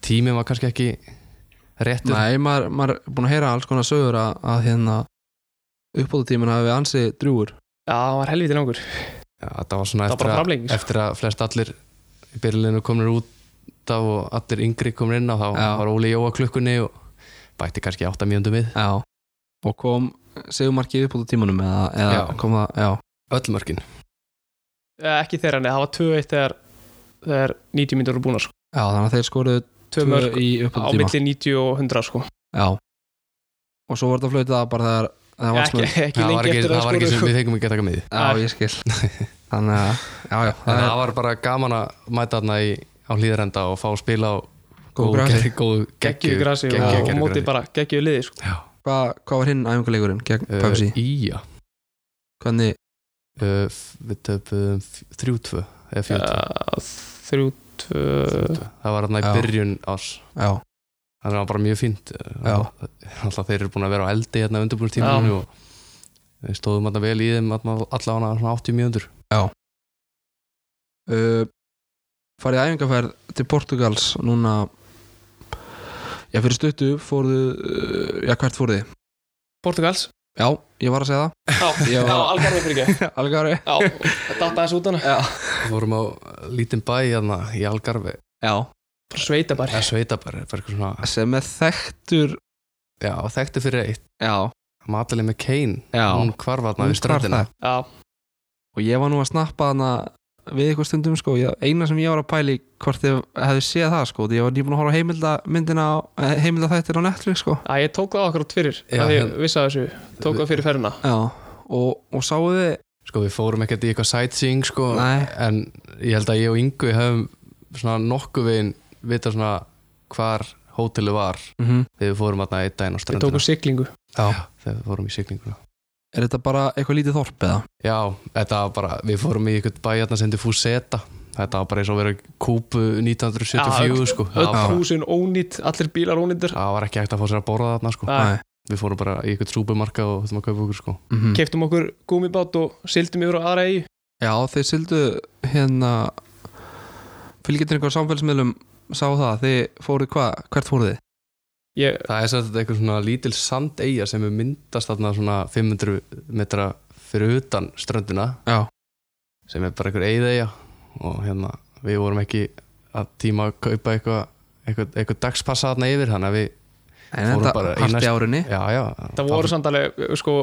Speaker 3: tímið var kannski ekki réttur
Speaker 1: Nei, maður, maður er búin að heyra alls konar sögur að, að hérna uppbóðutíminn hafi ansi drúur
Speaker 2: Já, það var helviti langur
Speaker 3: Já, þetta var svona
Speaker 2: Það var
Speaker 3: eftir
Speaker 2: bara
Speaker 3: að,
Speaker 2: framlenging, sko.
Speaker 3: eftir að flest allir í byrjulinu komnir út af og allir yngri komnir inn á þá
Speaker 1: Já.
Speaker 3: var Óli Jóa klukkunni og bætti kannski 8 mínúndum við
Speaker 1: Já Og kom segumarkið uppbóðutímanum eða, eða
Speaker 3: Já.
Speaker 1: kom það, já
Speaker 3: öll mörkin
Speaker 2: Eh, Ekki þeirra, nei, það var 2-1 þegar, þegar 90 myndur eru búnar sko.
Speaker 1: Já, þannig að þeir skoruðu
Speaker 2: Tvö mörg
Speaker 1: í
Speaker 2: á
Speaker 1: uppbóðutíma
Speaker 2: milli 90 og 100 sko.
Speaker 1: Já Og svo var þetta flautað bara þegar þegar
Speaker 2: Ekki,
Speaker 1: Valsmenn-
Speaker 2: ekki
Speaker 3: það var
Speaker 2: lengi
Speaker 3: ekki,
Speaker 2: eftir
Speaker 3: það var ekki
Speaker 2: skoruðu,
Speaker 3: sem við þengum ekki að taka með því
Speaker 1: Já, ég skil Þannig að, já, já,
Speaker 3: en það var bara gaman að mæta þarna í, á hlýðarenda og fá að spila á
Speaker 1: góð græsi
Speaker 3: góðu
Speaker 2: geggjuðu grasi
Speaker 3: geggjuðu
Speaker 2: og á
Speaker 3: gervigrasi.
Speaker 2: móti bara geggjuðu liði sko.
Speaker 3: Já.
Speaker 1: Hvað hva var hinn æfingarleikurinn gegn
Speaker 3: Uh,
Speaker 1: Pepsi?
Speaker 3: Ía
Speaker 1: Hvernig,
Speaker 3: uh, f- Við töpuðum f- 3-2 eða 4-2
Speaker 2: Eh, þrjú, tvö
Speaker 3: Það var þarna í
Speaker 1: Já.
Speaker 3: byrjun ás
Speaker 1: já,
Speaker 3: Það var bara mjög fínt
Speaker 1: já
Speaker 3: Alltaf þeir eru búin að vera á eldi hérna undirbúinu tímanu og við stóðum alltaf vel í þeim allavega hana svona 80 mínútur
Speaker 1: uh, farið æfingarferð til Portugals núna já fyrir stuttu fóruðu uh, já hvert fóruði
Speaker 2: Portugals
Speaker 1: já ég var að segja
Speaker 2: Já,
Speaker 1: Já.
Speaker 2: já, algarði fyrir ekki
Speaker 1: það algari
Speaker 2: Já, það datta þessu út hana
Speaker 1: já
Speaker 3: Við fórum á lítinn bæ hérna í Algarve
Speaker 1: já
Speaker 2: Bara sveita bara
Speaker 3: eða Sveitabær bara eitthvað svona,
Speaker 1: sem er þekktur
Speaker 3: Já, þekktu fyrir eitt
Speaker 1: já
Speaker 3: Matalið með Kane
Speaker 1: já
Speaker 3: Hún hvarf
Speaker 1: Hún
Speaker 3: hérna við ströndina
Speaker 1: hvarf
Speaker 2: Já,
Speaker 1: og ég var nú að snappa hana við ykkur stundum sko ég, eina sem ég var að pæli hvort þið hefði séð það sko því ég var nýbúin að horfa á heimildamyndina heimilda þættir á Netflix sko
Speaker 2: að ég tók það á okkur út fyrir
Speaker 3: Já,
Speaker 2: já,
Speaker 3: hérna-
Speaker 2: að ég
Speaker 3: en-
Speaker 2: vissi að þessu, tók það fyrir ferðina
Speaker 1: já og, og sáu þið
Speaker 3: Sko við fórum ekkert í eitthvað sightseeing sko
Speaker 1: Nei.
Speaker 3: En ég held að ég og Yngvi höfum svona nokkuð veginn vita svona hvar hótelu var
Speaker 1: mm -hmm.
Speaker 3: þegar við fórum hérna einn daginn á
Speaker 2: Við tókum
Speaker 3: ströndina
Speaker 2: siglingu
Speaker 3: Já, þegar við fórum í siglinguna
Speaker 1: er þetta bara eitthvað lítið þorp eða
Speaker 3: Já, þetta var bara, við fórum í eitthvað bæjarna sem til Fuseta Þetta var bara eins og að vera í Kúbu 1974
Speaker 2: Já,
Speaker 3: sko það
Speaker 2: Öll
Speaker 3: var, bara,
Speaker 2: húsin ónýtt, allir bílar ónýttir
Speaker 3: það var ekki hægt að fá sér að borða þarna sko
Speaker 2: Nei.
Speaker 3: Við fórum bara í eitthvað súbumarka og þurfum að kaupa okkur sko
Speaker 1: mm -hmm.
Speaker 2: Keftum okkur gúmibát og sildum yfir á aðra eigi
Speaker 1: Já, þeir sildu hérna fylgjendur einhver samfélagsmiðlum sá það, þið fóruð hvað, hvert fóruð þið?
Speaker 2: Ég,
Speaker 3: Það er sem þetta eitthvað svona lítil sandeyja sem er myndast þarna svona 500 metra fyrir utan ströndina
Speaker 1: Já,
Speaker 3: sem er bara einhver eyðeyja og hérna við vorum ekki að tíma að kaupa eitthvað eitthvað, eitthvað dagspassa þarna yfir þannig að við,
Speaker 1: en
Speaker 3: Fórum
Speaker 1: þetta
Speaker 3: bara í
Speaker 1: hart í
Speaker 3: næst-
Speaker 1: árunni
Speaker 3: já já
Speaker 2: það voru samt alveg, sko,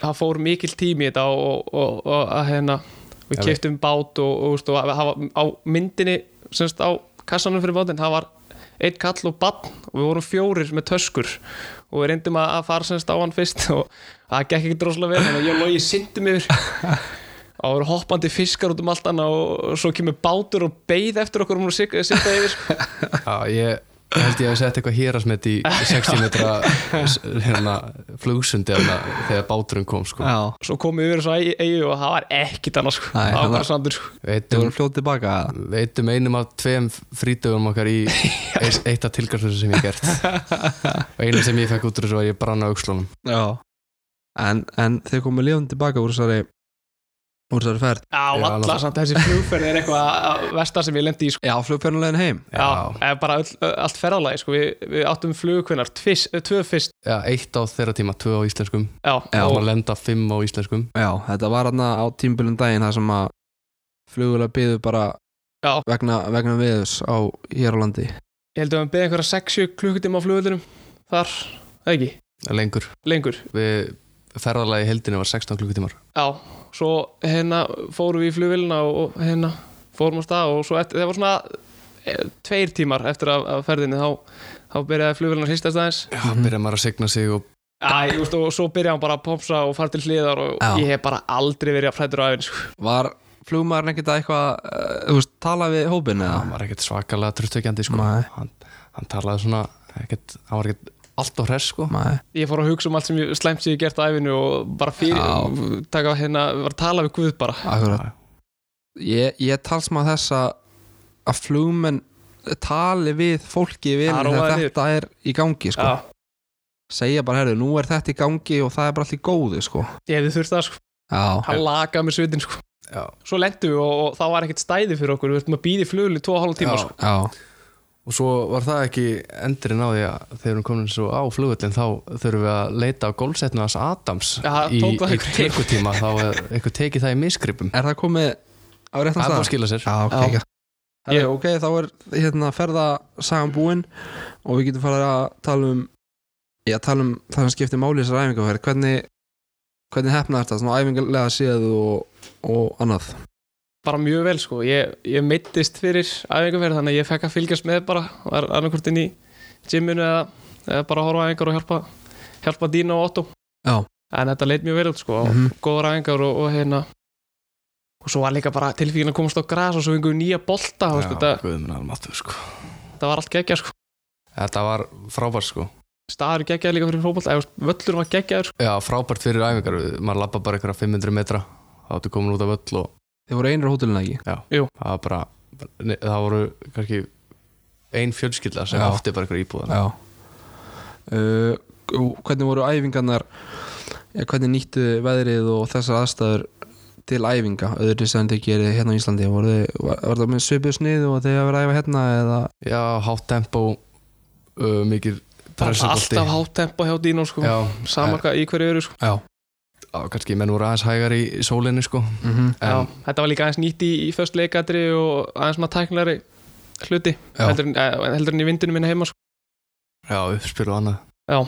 Speaker 2: það fór mikil tími í þetta og, og, og, og hérna, við
Speaker 3: Já, við-
Speaker 2: keftum bát og, og, veist, og að, hafa, á myndinni, semst á kassanum fyrir bátinn, það var einn kall og bann og við vorum fjórir með töskur og við reyndum að, að fara semst á hann fyrst og það gekk ekki droslega vel þannig að ég og logi sindum yfir og það voru hoppandi fiskar út um allt annað og, og svo kemur bátur og beið eftir okkur og hún er sig- sigta yfir sko.
Speaker 3: já, ég held ég að við sett eitthvað hérasmet í 60 metra s- hérna, flugsundi hérna, þegar báturinn kom sko.
Speaker 1: Já,
Speaker 2: svo komum við yfir svo eigi og það var ekkit annað sko.
Speaker 1: Nei,
Speaker 2: það
Speaker 1: það
Speaker 2: var
Speaker 1: var-
Speaker 2: bara sandur sko.
Speaker 1: þið
Speaker 3: veitum,
Speaker 1: voru fljótið tilbaka eða?
Speaker 3: veitum um einum af tveim frítöfum okkar í eitt, eitt af tilgjörsum sem ég hef gert og einu sem ég fekk út úr þessu var ég brann á augslunum
Speaker 1: Já En, en þeir komu lifum tilbaka úr þessari úr þessari ferð
Speaker 2: Já,
Speaker 3: Já,
Speaker 2: alla
Speaker 3: náttúrulega.
Speaker 2: samt, þessi flugferð er eitthvað að versta sem ég lendi í sko.
Speaker 1: Já, flugferðulegin heim
Speaker 2: Já, eða bara öll, allt ferðalagi sko. við, við áttum flugkvinnar, tvö fyrst
Speaker 3: já, eitt á þeirra tíma, tvö á íslenskum
Speaker 2: Já,
Speaker 1: Já.
Speaker 3: og
Speaker 2: og
Speaker 3: maður lenda fimm á íslenskum
Speaker 1: Já, þetta var hann á tímbilum daginn þar sem að flugulega byðu bara
Speaker 2: Já.
Speaker 1: vegna, vegna viðus á hér á landi
Speaker 2: ég held að við beðið einhverja 60 klukkutíma á flugvöldunum þar, eða ekki,
Speaker 3: lengur
Speaker 2: lengur
Speaker 3: við ferðalagi heldinu var 16 klukkutímar
Speaker 2: Já, svo hérna fórum við í flugvélina og og hérna fórum á stað og svo eftir, það var svona eh, tveir tímar eftir að, að ferðinni þá, þá byrjaði flugvélina að hlýstast aðeins
Speaker 3: Já, mm byrja maður að signa sig og
Speaker 2: Æ, ég veist, og svo byrjaði hann bara að popsa og fara til hliðar og
Speaker 1: Já.
Speaker 2: ég hef bara aldrei verið að frættur á æfinn sko.
Speaker 1: Var flugmaðurinn ekkert að eitthvað uh, þú veist, tala við hópin eða?
Speaker 3: hann var ekkert svakalega tröstvekjandi sko.
Speaker 1: Nei.
Speaker 3: hann, hann talaði svona ekkert, hann var ekkert allt á hress sko.
Speaker 1: Nei
Speaker 2: ég fór að hugsa um allt sem ég slæmt sem ég gert á æfinu og bara fyrir
Speaker 1: Já.
Speaker 2: taka hérna, var að tala við Guð bara
Speaker 1: Akkurat Ég, ég tals maður þess að að flugmenn tali við fólki í
Speaker 2: Það
Speaker 1: vilni
Speaker 2: róaði
Speaker 1: þegar
Speaker 2: niður.
Speaker 1: þetta er í gangi sko.
Speaker 2: Já,
Speaker 1: segja bara, herru, nú er þetta í gangi og það er bara allt í góðu, sko
Speaker 2: ég hefði þurft það sko,
Speaker 1: Já,
Speaker 2: hann lagaði með svitin sko.
Speaker 3: Já.
Speaker 2: svo lendum við og, og það var ekkert stæði fyrir okkur við vartum að býða í flugli 2,5 tíma
Speaker 3: Já.
Speaker 2: sko.
Speaker 1: já,
Speaker 3: og svo var það ekki endurinn á því að þegar við erum komin svo á flugullin þá þurfum við að leita á gólfsetna hans Adams
Speaker 2: Já, það
Speaker 3: í,
Speaker 2: tók það
Speaker 3: í
Speaker 2: einhver tíma.
Speaker 3: tekutíma þá er eitthvað tekið það í misgripum
Speaker 1: er það komið á réttan stað?
Speaker 3: það er búið að skila sér
Speaker 1: Já, ok,
Speaker 2: Já.
Speaker 1: já. Herru,
Speaker 2: Ég-
Speaker 1: ok, þá er hérna ferða sagan búin og við getum farið að tala um já, tala um það sem skiptir máli í þessar æfingarferð hvernig, hvernig hefna þetta svona æfingarlega séð og, og annað
Speaker 2: bara mjög vel sko. ég, ég meittist fyrir æfingarferð þannig að ég fekk að fylgjast með bara var annarkvort inn í gyminu eða, eða bara horfa á æfingar og hjálpa hjálpa Dína og Otto
Speaker 1: Já.
Speaker 2: en þetta leit mjög vel út sko,
Speaker 1: Mhm.
Speaker 2: og góðar æfingar og, og hérna og svo var líka bara tilfíkin að komast á gras og svo fengum við nýja bolta og, sko, það,
Speaker 3: guð minn almáttugur, sko.
Speaker 2: það var allt geggja sko.
Speaker 3: þetta var frábært sko
Speaker 2: staður geggjaði líka fyrir fótboll eða völlur var geggjaður sko.
Speaker 3: já, frábært fyrir æfingar maður lappa bara eitthvað 500 metra þá áttu komin út af öll og
Speaker 1: Þið voru einir á hótelina ekki?
Speaker 3: það var bara ne- það voru kannski ein fjölskylda sem
Speaker 1: Já.
Speaker 3: átti bara eitthvað íbúðan
Speaker 1: Já uh, og Hvernig voru æfingarnar ja, hvernig nýttu veðrið og þessar aðstæður til æfinga öðru sem þið gerir hérna á Íslandi voru þið, var, var það með svipuð snið og þið að vera að æfa hérna eða
Speaker 3: já, hátt tempo uh, mikið
Speaker 2: bara
Speaker 3: pressubolti.
Speaker 2: alltaf hátt tempo hjá Dínu sko.
Speaker 3: já,
Speaker 2: sama hvað í hverju öru sko.
Speaker 1: Já,
Speaker 3: já, kannski menn voru aðeins hægar í sólinni sko
Speaker 1: mm -hmm.
Speaker 2: Já,
Speaker 3: en,
Speaker 2: þetta var líka aðeins nýtt í, í först leikadri og aðeins maður tæknari hluti
Speaker 1: Já.
Speaker 2: heldur, en- eh, heldur en í vindinu minna heima sko.
Speaker 3: já, uppspil og annað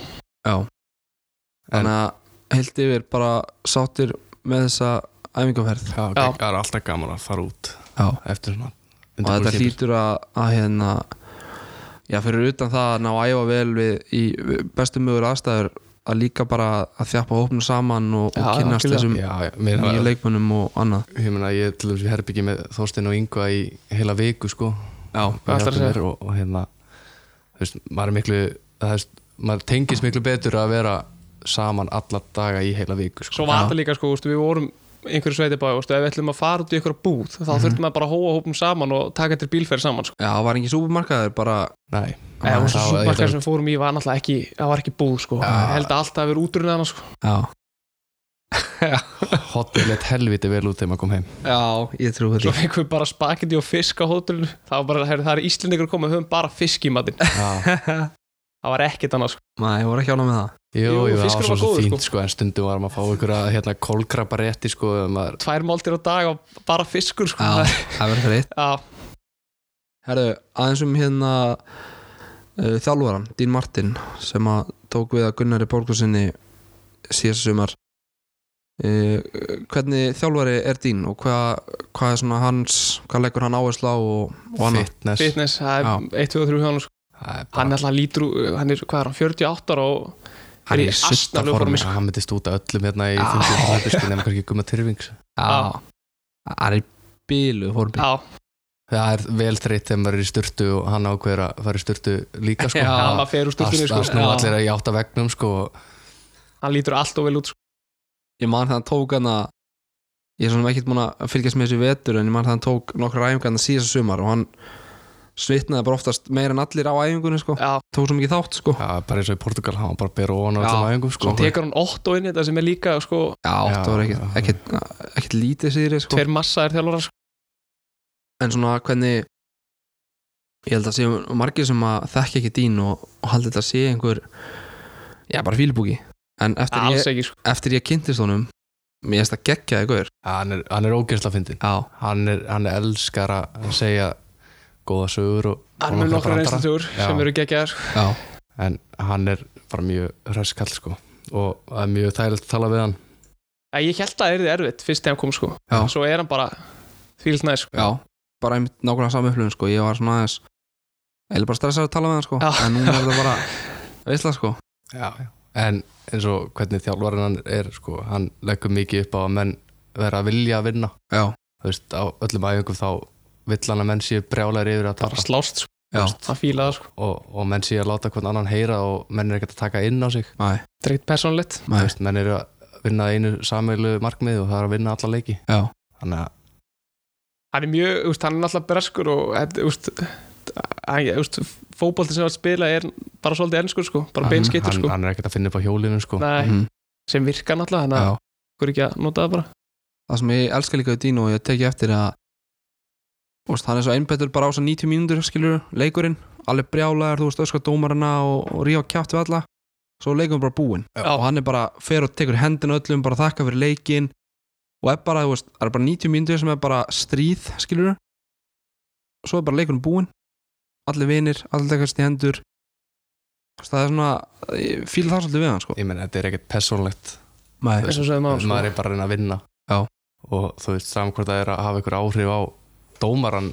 Speaker 1: Þannig að heilt yfir bara sáttir með þessa æfingarferð
Speaker 3: já,
Speaker 2: Já.
Speaker 3: það er alltaf gaman að fara út
Speaker 1: Já.
Speaker 3: eftir svona
Speaker 1: og þetta
Speaker 3: undirbúningstímabil.
Speaker 1: hlýtur að, að hérna já fyrir utan það að ná að æfa vel við í bestum mögur aðstæður að líka bara að þjappa hópnum saman og,
Speaker 2: Já,
Speaker 1: og kynnast
Speaker 2: algjörlega.
Speaker 1: þessum
Speaker 3: já, já, mér
Speaker 1: um nýju
Speaker 3: var
Speaker 1: leikmönnum og annað
Speaker 3: ég meina ég til dæmis í herbyggi með Þorstein og Inga í heila viku sko
Speaker 1: já,
Speaker 2: Hvað ætlarðu að segja?
Speaker 3: Mér og, og hérna þú veist, maður er miklu það veist, maður tengist miklu betur að vera saman alla daga í heila viku sko.
Speaker 2: svo var
Speaker 1: Já.
Speaker 2: þetta líka sko, ústu, við vorum í einhverju sveitibæ og ef við ætlum að fara út í einhverju búð þá
Speaker 3: Mhm.
Speaker 2: þurftum maður bara að hóa hópum saman og taka til bílferð saman sko. Eh,
Speaker 1: já, var engin súpermarkaður bara
Speaker 3: Nei,
Speaker 2: eða
Speaker 1: já,
Speaker 2: þessu
Speaker 3: þá-
Speaker 2: súparkar
Speaker 3: ég-
Speaker 2: sem við fórum í var náttúrulega ekki það var ekki búð sko.
Speaker 3: Já.
Speaker 2: ég held að allt hafi verið útrunið hana sko.
Speaker 1: já,
Speaker 3: hotnið lett helviti vel út þegar maður kom heim
Speaker 1: ég trú
Speaker 2: svo
Speaker 1: þetta
Speaker 2: fengum við bara spagetti og fisk á hótelinu það var bara, heyrðu, það er íslendingur komið, höfum bara fisk í matinn
Speaker 3: Já,
Speaker 2: það var ekkert annars sko.
Speaker 1: maður, ég voru ekki ána með það
Speaker 3: Jú,
Speaker 2: Jú,
Speaker 3: jú, það var
Speaker 2: fiskurinn var
Speaker 3: svo sem
Speaker 2: góður,
Speaker 3: fínt sko, en stundum var maður að fá einhverja hérna, kólkrabarétti sko, maður,
Speaker 2: tvær máltir á dag og bara fiskur sko.
Speaker 1: já, það verður fyrir eitt
Speaker 2: Já,
Speaker 1: herru, aðeins um hérna uh, þjálfaran, Dín Martin sem að tók við að Gunnari Borgursinni síðast sumar uh, hvernig þjálfari er Dín og hvað hva er svona hans, hvað leggur hann áherslu á og, og annað
Speaker 3: fitness
Speaker 2: fitness, það er
Speaker 1: Já.
Speaker 2: 1, 2, 3 hjá hann sko.
Speaker 3: Það
Speaker 2: hann
Speaker 3: er bara-
Speaker 2: er alltaf lítur, úr- hann er, hvað er hann, 48 ára og
Speaker 1: Hann
Speaker 2: er í asnalegu
Speaker 1: sultarformi.
Speaker 2: formi,
Speaker 3: Já, hann myndist út af öllum hérna í
Speaker 1: Já.
Speaker 3: 50 hópi sko, nema kannski gumma tyrfings
Speaker 1: Já, það er í bílu formi
Speaker 2: já,
Speaker 3: það er vel þreytt þegar maður er í sturtu og hann ákveður að fara í sturtu líka sko.
Speaker 1: Já.
Speaker 2: já, maður fer úr stúkunni sko.
Speaker 3: það snú
Speaker 2: Já,
Speaker 3: um allir að játa vegnum sko.
Speaker 2: hann lítur allt og vel út sko.
Speaker 1: Ég man það hann tók hann að ég er svona ekkert múin að fylgjast með þessu í vetur en ég man það hann tók nokkra æfingarna síðast sumar og hann svitnaði bara oftast meira en allir á æfingunni sko
Speaker 2: já,
Speaker 1: tók svo mikið þátt sko
Speaker 3: Já, bara eins og í Portugal, hann var bara að bera ofan á
Speaker 1: Já.
Speaker 3: öllum æfingum
Speaker 2: svo
Speaker 3: sko.
Speaker 2: tekur hann 8 inn í þetta sem er líka sko,
Speaker 1: Já, það var ekkert,
Speaker 3: já.
Speaker 1: ekkert, ekkert lítið síðri sko.
Speaker 2: tveir massaðir þjálfara sko.
Speaker 1: en svona hvernig ég held að séu margir sem að þekki ekki dín og, og haldi þetta að sé einhver já, bara fílbúki en eftir
Speaker 2: alls
Speaker 1: ég,
Speaker 2: ekki, sko.
Speaker 1: eftir ég kynntist honum mér finnst það geggja ykkur
Speaker 3: hann er, hann er ógeðsla fyndin
Speaker 1: já,
Speaker 3: hann, er- hann er elskar að segja góða sögur og,
Speaker 2: hann er
Speaker 3: og
Speaker 2: nokkra
Speaker 3: brandara.
Speaker 2: reynslutjúr
Speaker 3: Já.
Speaker 2: sem eru geggjaðar sko.
Speaker 1: já,
Speaker 3: en hann er bara mjög hröskall sko. og það er mjög þægilegt að tala við hann
Speaker 2: Já, ég held að það er erfitt fyrst þegar hann kom sko.
Speaker 1: Já.
Speaker 2: svo er hann bara fílt næ sko.
Speaker 1: já bara einmitt nákvæmlega saman upplöfun sko ég var svona aðeins eða bara stressað að tala með hann sko
Speaker 2: Já.
Speaker 1: en núna er þetta bara veistla sko
Speaker 3: já, já. en eins og hvernig þjálfarinn hann er sko, hann leggur mikið upp á að menn vera að vilja að vinna
Speaker 1: já,
Speaker 3: þú veist, á öllum æfingum þá vill hann að menn séu brjálæri yfir að
Speaker 2: bara
Speaker 3: tapa
Speaker 2: slást, sko.
Speaker 1: já,
Speaker 2: hann fílaði það, sko.
Speaker 3: og, og menn séu að láta hvern annan heyra og menn er ekkert að taka inn á sig
Speaker 1: mæ,
Speaker 2: það er ekkert persónlegt
Speaker 1: mæ
Speaker 3: Þú veist, menn eru að vinna að einu samilu markmiði og það er að vinna alla leiki
Speaker 1: já,
Speaker 3: þannig að
Speaker 2: eh, hann er mjög, úst, hann er náttúrulega breskur og þetta, úst, hann, úst, fótbolti sem var að spila er bara svolítið ennskur sko, bara
Speaker 3: Hann-
Speaker 2: beinskittur
Speaker 3: hann-
Speaker 2: sko
Speaker 3: Hann er ekkert að finna upp á hjólinu sko
Speaker 2: Nei,
Speaker 1: Mhm.
Speaker 2: sem virka náttúrulega þannig að
Speaker 3: Já,
Speaker 2: okkur ekki að nota það bara
Speaker 1: það sem ég elska líka við Dino og ég teki eftir að þú veist, hann er svo einbettur bara á svo 90 mínútur skilur leikurinn, alveg brjálaður þú veist öskar dómarana og, og ríða á kjátt við alla svo er leikurinn bara búinn
Speaker 3: Já.
Speaker 1: og hann er bara, fer og tekur hendina öllum bara þakka fyrir leikinn og er bara, þú veist, það er bara 90 mínútur sem er bara stríð skilur svo er bara leikurinn búinn allir vinir, allir tekast í hendur Þú veist, það er svona, ég fíla það svolítið við hann sko.
Speaker 3: ég menn, þetta er ekkert persónlegt
Speaker 1: Nei,
Speaker 2: eins og segðum á
Speaker 3: sko.
Speaker 2: sko.
Speaker 3: maður er bara að reyna að vinna
Speaker 1: Já.
Speaker 3: og þú veist saman hvort það er að hafa einhver áhrif á dómaran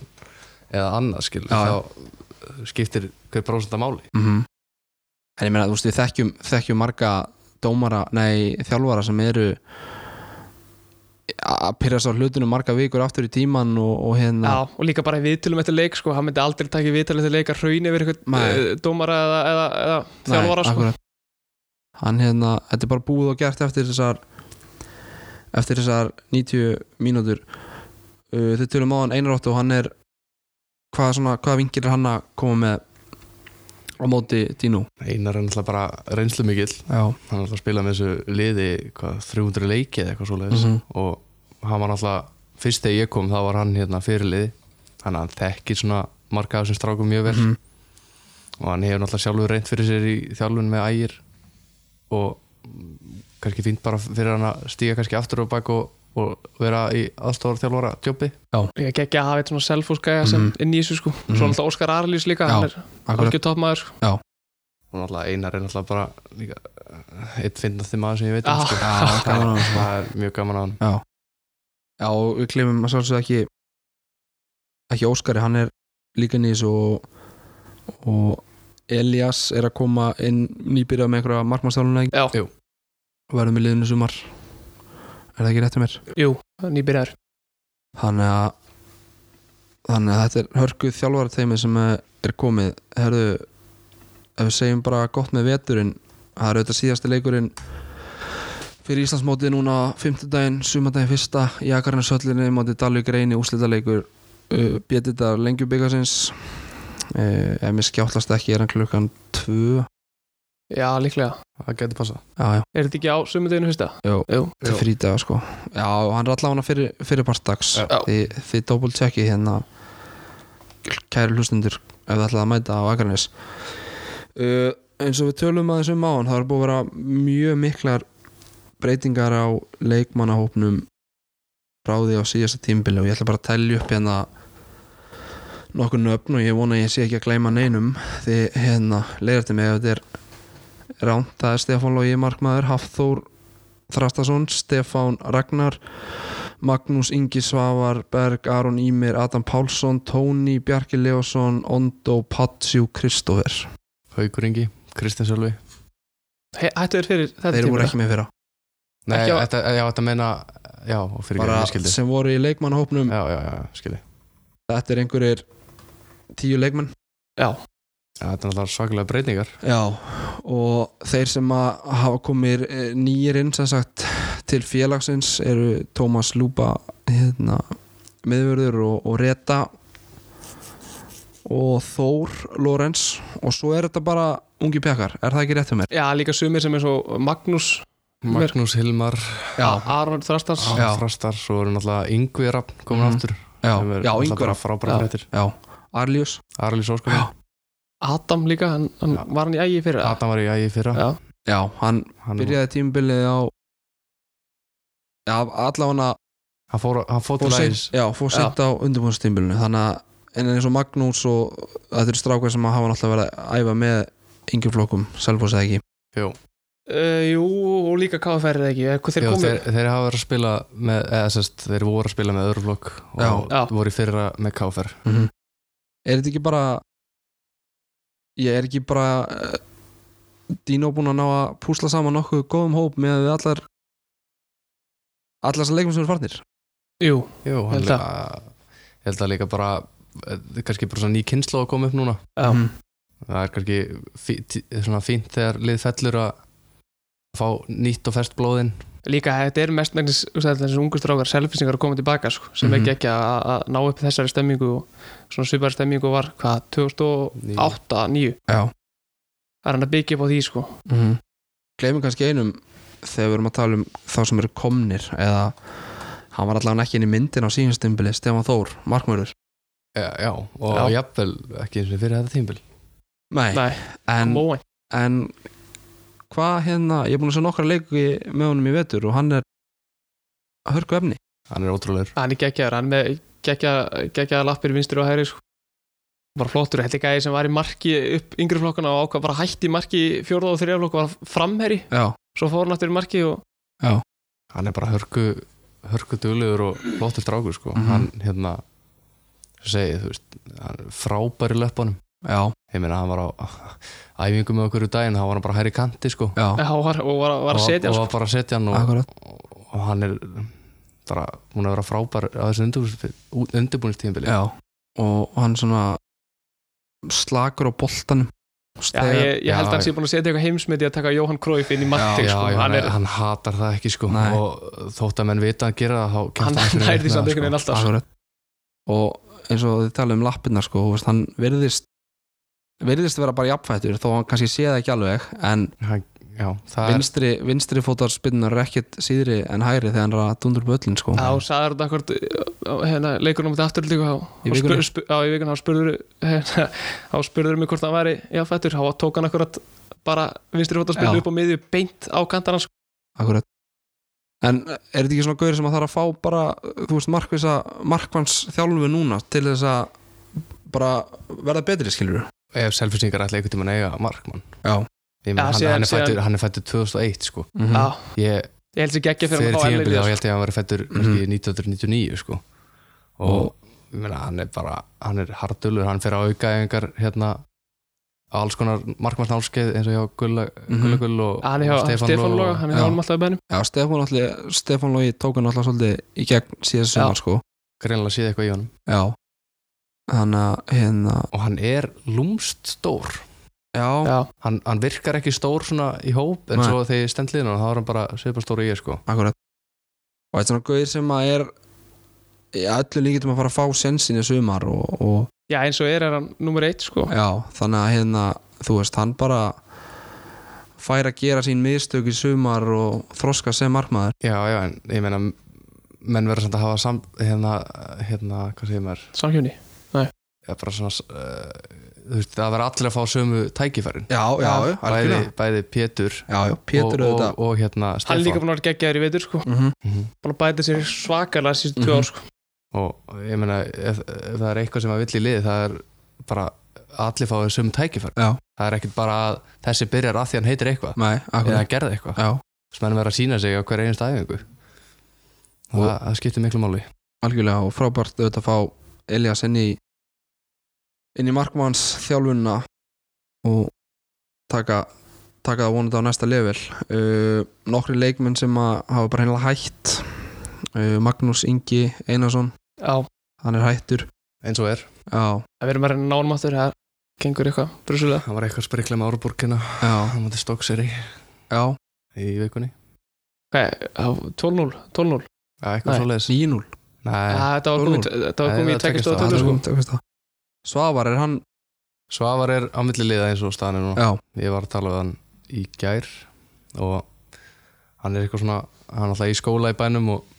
Speaker 3: eða annað skil
Speaker 1: Já, já.
Speaker 3: þá skiptir hver prósenda máli
Speaker 1: mm
Speaker 2: Mhm.
Speaker 1: En ég meina, þú veist, við þekkjum, þekkjum marga dómara, nei, þjálfara sem eru að pyrrast á hlutunum marga vikur aftur í tíman og, og
Speaker 2: Já,
Speaker 1: hérna
Speaker 2: og líka bara í viðtölum eftir leik sko, hann myndi aldrei taka í viðtölum eftir leik að hraun yfir eitthvað
Speaker 1: Nei.
Speaker 2: eh, dómara eða, eða, eða þjálfara sko.
Speaker 1: akkurat. Hann hérna, þetta er bara búið og gert eftir þessar eftir þessar 90 mínútur uh, Þau tölum á hann einarótt og hann er hvað, svona, hvað vingir er hann að koma með á móti Dino
Speaker 3: Einar er náttúrulega bara reynslu mikill
Speaker 1: Já,
Speaker 3: hann er náttúrulega að spila með þessu liði hvað, 300 leiki eða eitthvað svoleiðis
Speaker 1: Mhm.
Speaker 3: og hann var náttúrulega fyrst þegar ég kom þá var hann hérna fyrirliði þannig að hann þekkir svona marga af þessum strákum mjög vel
Speaker 1: Mhm.
Speaker 3: og hann hefur náttúrulega sjálfur reynt fyrir sér í þjálfun með ægir og kannski fínt bara fyrir hann að stíga kannski aftur á bak og, og vera í aðstofar þjálfara djópi
Speaker 2: Ég gekk að hafa eitthvað svona selfúskæja sem
Speaker 1: Mhm.
Speaker 2: inn í þessu sko.
Speaker 1: Mhm.
Speaker 2: Svo alltaf Óskar Arlís líka,
Speaker 1: Já,
Speaker 2: hann er
Speaker 1: akkurat
Speaker 2: algjör toppmaður sko.
Speaker 3: og náttúrulega einar er náttúrulega bara líka eh, einn fyndnasti maður sem ég veit um,
Speaker 2: Já.
Speaker 3: sko.
Speaker 1: Já, Ah. gaman á hann sko.
Speaker 3: það er mjög gaman á hann
Speaker 1: Já, og við klemum að sjálfsögðu ekki ekki Óskari, hann er líka nýs og, og Elias er að koma inn nýbyrjað með einhverja markmannstjálunna
Speaker 2: Já,
Speaker 3: Jú.
Speaker 1: og verður með liðinu sumar er það ekki rétt um mér?
Speaker 2: jú, nýbyrjar
Speaker 1: Þannig að þannig að þetta er hörkuð þjálfara teimi sem er komið Herðu, ef við segjum bara gott með veturinn það er auðvitað síðasti leikurinn fyrir Íslandsmótið núna fimmtudaginn, sumardaginn fyrsta í Akarnasöllinni, mótið Dalvík reyni úslitaleikur, uh, bjettitar lengjubikarsins uh, ef mér skjáttlast ekki er hann klukkan 2
Speaker 2: Já, líklega
Speaker 3: það getur passað
Speaker 1: já, já,
Speaker 2: Er þetta ekki á sumudeginu fyrsta?
Speaker 1: Jú.
Speaker 2: Jú.
Speaker 1: til frítaga sko já, og hann er allavega fyrir, fyrir partags
Speaker 3: Já.
Speaker 1: Þi, þið doppelt tjekki hérna kæri hlustundur ef þið ætlaði að mæta á Akarnes uh, eins og við tölum aðeins um áðan það er búið að vera mjög miklar breytingar á leikmannahópnum frá því á síðasta tímbili og ég ætla bara að telja upp hérna nokkur nöfn og ég vona að ég sé ekki að gleyma neinum því hérna, leiðar til mig ef þetta er ránt, það er Stefán Lógi Markmaður, Hafþór Þrastason, Stefán Ragnar Magnús Ingi Svavar Berg, Aron Ímir, Adam Pálsson Tóni, Bjarki Leosson Ondo, Patsjú, Kristófer
Speaker 3: Haukur Ingi, Kristins Ölvi
Speaker 2: Hættu þér fyrir þetta
Speaker 1: Þeir voru
Speaker 2: tímabilið?
Speaker 1: ekki með fyrra
Speaker 3: Nei,
Speaker 2: Ekki á-
Speaker 3: þetta, já, þetta meina já, og fyrir
Speaker 1: bara
Speaker 3: ekki skildi
Speaker 1: sem voru í leikmannahópnum
Speaker 3: já, já, já, skildi
Speaker 1: Þetta er einhverjir tíu leikmann
Speaker 3: Já, þetta er náttúrulega svakalega breytingar
Speaker 1: Já, og þeir sem að hafa komið nýjir inn sem sagt til félagsins eru Tómas Lúpa hérna, miðvörður og, og Reta og Þór Lorenz og svo er þetta bara ungi pjakar, er það ekki rétt um mér?
Speaker 2: Já, líka sumir sem er svo Magnús,
Speaker 3: Magnús Hilmar,
Speaker 2: A- Aron Þrastans
Speaker 1: Já.
Speaker 3: Frastar svo eru náttúrulega Yngvi Rappn komin
Speaker 1: Mhm.
Speaker 3: aftur
Speaker 1: Já,
Speaker 3: sem er
Speaker 1: já,
Speaker 3: náttúrulega
Speaker 1: yngur
Speaker 3: bara frábæra
Speaker 2: Já.
Speaker 3: fréttir
Speaker 1: Já, Arljus
Speaker 3: Arlís Óskar,
Speaker 2: Adam líka, hann, hann
Speaker 3: Já.
Speaker 2: var hann í ægi fyrir það?
Speaker 3: Adam var í ægi fyrra
Speaker 2: Já.
Speaker 1: Já, hann
Speaker 3: hann,
Speaker 1: byrjaði tímabilið á Já, allavega
Speaker 3: hann fór, hann
Speaker 1: fór
Speaker 3: fór til ægis
Speaker 1: seint, já, fór seint á undirbúinnstímbilinu þannig að en eins og Magnús og þetta eru strákar sem hafa náttúrulega verið að æfa með yngjur flokkum, Selfoss eða ekki
Speaker 2: Uh, jú, og líka KFR eða ekki, eitthvað þeir
Speaker 3: Já,
Speaker 2: komið
Speaker 3: þeir, þeir hafa verið að spila með, eða sérst, þeir voru að spila með öðru flokk og
Speaker 1: Já.
Speaker 2: Já.
Speaker 3: voru í fyrra með KFR
Speaker 1: er þetta ekki bara ég er ekki bara eh, Dino búinn að ná að púsla saman nokkuð góðum hóp með við allar allar þessar leikum sem eru farnir
Speaker 2: Jú,
Speaker 3: Jú, hann
Speaker 2: Held að.
Speaker 3: líka- ég held að líka bara eh, kannski bara svona ný kynslu að koma upp núna
Speaker 2: já,
Speaker 1: Mhm.
Speaker 3: það er kannski fí, tí- svona fínt þegar lið fellur að fá nýtt og fest blóðin
Speaker 2: líka þetta er mest megnis þessi ungu strákar selfisingar að koma tilbaka sko, sem mm
Speaker 3: Mhm.
Speaker 2: -hmm. ekki að að ná upp þessari stemmingu og svona svipari stemmingu var hvað 2008-2009
Speaker 1: já
Speaker 2: það er hann að byggja upp á því sko
Speaker 1: mm gleymum kannski einum þegar við erum að tala um þá sem eru komnir eða hann var allavega ekki inn í myndin á síðanstumbili Stefán Þór, markmörður
Speaker 3: já, já, og
Speaker 1: Já.
Speaker 3: jafnvel ekki eins og fyrir þetta tímbil
Speaker 1: Nei,
Speaker 2: Nei.
Speaker 1: en,
Speaker 2: Móen
Speaker 1: en hvað hérna, ég er búin að sjá nokkra leiki með honum í vetur og hann er að hörku efni
Speaker 3: hann er ótrúlegur
Speaker 2: hann er geggjaður, hann er með geggja- geggjaða lappir vinstri og hægri sko. bara flottur, þetta er gæði sem var í marki upp yngri flokkana og ákvað bara hætti í marki fjórða og þriða flokk og var framherri
Speaker 1: Já,
Speaker 2: svo fór hann aftur í marki og
Speaker 3: hann er bara hörku hörku duglegur og flottur strákur sko.
Speaker 1: Mhm.
Speaker 3: hann hérna segi, þú veist, hann er frábæri löpunum
Speaker 1: já,
Speaker 3: ég meina hann var á æfingu með okkur í daginn, hann var hann bara hæri kanti sko.
Speaker 1: já,
Speaker 2: Já, var, og var, var að
Speaker 3: Og-
Speaker 2: setja
Speaker 3: og
Speaker 2: sko.
Speaker 3: var bara að setja hann og,
Speaker 1: akkurat
Speaker 3: og hann er bara, hún er að vera frábær á þessu undirbúinistíðinbili
Speaker 1: Já, og hann svona slakur á boltanum
Speaker 2: Já, ég, ég held að
Speaker 3: Já,
Speaker 2: hann sé búin að setja eitthvað heimsmyndi að taka Jóhann Króif inn í marki
Speaker 1: Já,
Speaker 2: sko. hann, er,
Speaker 3: hann hatar það ekki sko
Speaker 1: Nei.
Speaker 3: og þótt að menn vita að gera það þá
Speaker 2: hann
Speaker 3: kemst aldrei
Speaker 2: nær
Speaker 3: upp með
Speaker 2: því samt
Speaker 3: það,
Speaker 2: einhvern veginn alltaf sko.
Speaker 1: Akkurat. og eins og þið tala um lappirnar sko, þú veist, hann virðist virðist vera bara jafnfættur þó hann kannski sé það ekki alveg en
Speaker 3: Hann- Já, það er
Speaker 1: vinstri, vinstri fótar spinnar er ekkit síðri en hægri þegar hann er að dundur böllin sko.
Speaker 2: Já, og sagður þetta akkur hérna, leikunum þetta aftur líka og-
Speaker 1: Í
Speaker 2: og spur-
Speaker 1: vikunni?
Speaker 2: spu- Já, í vikun, þá spurður hérna, þá spurður mig hvort hann væri já, fættur, þá tók hann akkur bara vinstri fót að
Speaker 1: Já.
Speaker 2: spila upp á miðju beint á kantana sko.
Speaker 1: Akkurat. en er þetta ekki svona gaur sem að þarf að fá bara, þú veist, markvisa markvans þjálfu núna til þess að bara verða betri skilur
Speaker 3: ef selfisingar ætla einhvern tímann að eiga markmann
Speaker 1: Já.
Speaker 3: Ég meina,
Speaker 2: Já,
Speaker 3: hann,
Speaker 2: síðan-
Speaker 3: hann, er fættur,
Speaker 2: síðan-
Speaker 3: hann er fættur 2001 sko
Speaker 1: mm -hmm.
Speaker 2: Já,
Speaker 3: ég,
Speaker 2: ég held sér geggja fyrir
Speaker 3: fyrir
Speaker 2: hann að fá
Speaker 3: tíðanbili
Speaker 2: erlendis.
Speaker 3: þá ég held ég að hann var fættur
Speaker 2: Mhm.
Speaker 3: kannski 1999 sko og ég meina, hann er bara, hann er hardulur hann fyrir að auka einhver hérna á alls konar markmannsnálskeið eins og hjá Gulla,
Speaker 1: Mhm.
Speaker 3: Gulla Gull og,
Speaker 2: Hann er hjá
Speaker 3: og
Speaker 2: Stefán Loga, hann er hjá
Speaker 1: Já.
Speaker 2: honum alltaf í bænum
Speaker 1: Já, Stefán, allir, Stefán Lógi tók hann alltaf svolítið í gegn síðan
Speaker 2: Já.
Speaker 1: sumar sko.
Speaker 3: greinlega síða eitthvað í honum
Speaker 1: Já Þannig að hérna
Speaker 3: og hann er lúmst stór
Speaker 1: Já,
Speaker 2: Já,
Speaker 3: hann, hann virkar ekki stór svona í hóp en
Speaker 1: Nei.
Speaker 3: svo þegar ég stend liðin hann þá er hann bara svipar stór í ég sko
Speaker 1: akkurat Og þetta er svona gauðir sem að er í öllu líkitum að fara að fá sensin í sumar og, og
Speaker 2: já eins og er er hann nummer eitt sko
Speaker 1: já, þannig að hérna þú veist, hann bara fær að gera sín mistök í sumar og þroska sem markmaður
Speaker 3: já já en ég meina menn verður samt að hafa sam, hérna, hérna hvað segir maður
Speaker 2: Samhjóni
Speaker 3: ja, bara svona uh, þú veist það verður allir að fá sömu tækifærin
Speaker 1: Já, já, já,
Speaker 3: bæði,
Speaker 1: algjörlega
Speaker 3: bæði Pétur
Speaker 1: Já, já, Pétur
Speaker 3: og, og,
Speaker 1: auðvitað
Speaker 3: og, hérna
Speaker 2: Hann er líka
Speaker 3: Stefán
Speaker 2: búin að vera geggjaður í veitur sko
Speaker 1: Mhm.
Speaker 3: Mhm.
Speaker 2: Búin að bæta sér svakalega síðustu tvö
Speaker 1: Mhm.
Speaker 2: ár sko
Speaker 3: og ég meina ef, ef það er eitthvað sem að vill í lið það er bara allir fáið sömu tækifærin
Speaker 1: Já.
Speaker 3: það er ekkert bara að þessi byrjar að því hann heitir eitthvað
Speaker 1: Nei,
Speaker 3: eða
Speaker 1: akkurat
Speaker 3: hann gerði eitthvað
Speaker 1: Já,
Speaker 3: sem hann verður að sína sig á hver einust æfingu og
Speaker 1: Og-
Speaker 3: það, það skiptir miklu máli
Speaker 1: algjörlega og frábært auðvitað að fá Elias inn í inn í markmanns þjálfunna og taka taka það vonandi á næsta level uh, nokkri leikmenn sem að hafa bara hennilega hætt uh, Magnús Ingi Einarsson
Speaker 2: Já,
Speaker 1: hann er hættur
Speaker 3: eins og er,
Speaker 1: já,
Speaker 2: að við erum að reyna nánum aftur það gengur eitthvað brusulega
Speaker 3: hann var eitthvað sprikla með hérna, árborgina
Speaker 1: já,
Speaker 3: hann mútið stókseri
Speaker 1: já,
Speaker 3: í vikunni
Speaker 2: Hvað, á 12-0, 12-0
Speaker 3: ja,
Speaker 2: Nei.
Speaker 3: eitthvað svo leiðis
Speaker 1: 9-0
Speaker 3: Nei,
Speaker 2: Ah, Þetta var komið
Speaker 1: 0-0.
Speaker 2: þetta var
Speaker 3: Nei,
Speaker 2: komið
Speaker 3: það
Speaker 2: í
Speaker 3: er
Speaker 2: tvekkistöða
Speaker 1: Hann
Speaker 3: tveggja stafa.
Speaker 2: tölur
Speaker 1: er
Speaker 2: sko
Speaker 1: kominn til að kosta. Svavar er hann
Speaker 3: Svavar er á milli liða eins og staðan er núna
Speaker 1: já,
Speaker 3: ég var að tala við hann í gær og hann er eitthvað svona hann er alltaf í skóla í bænum og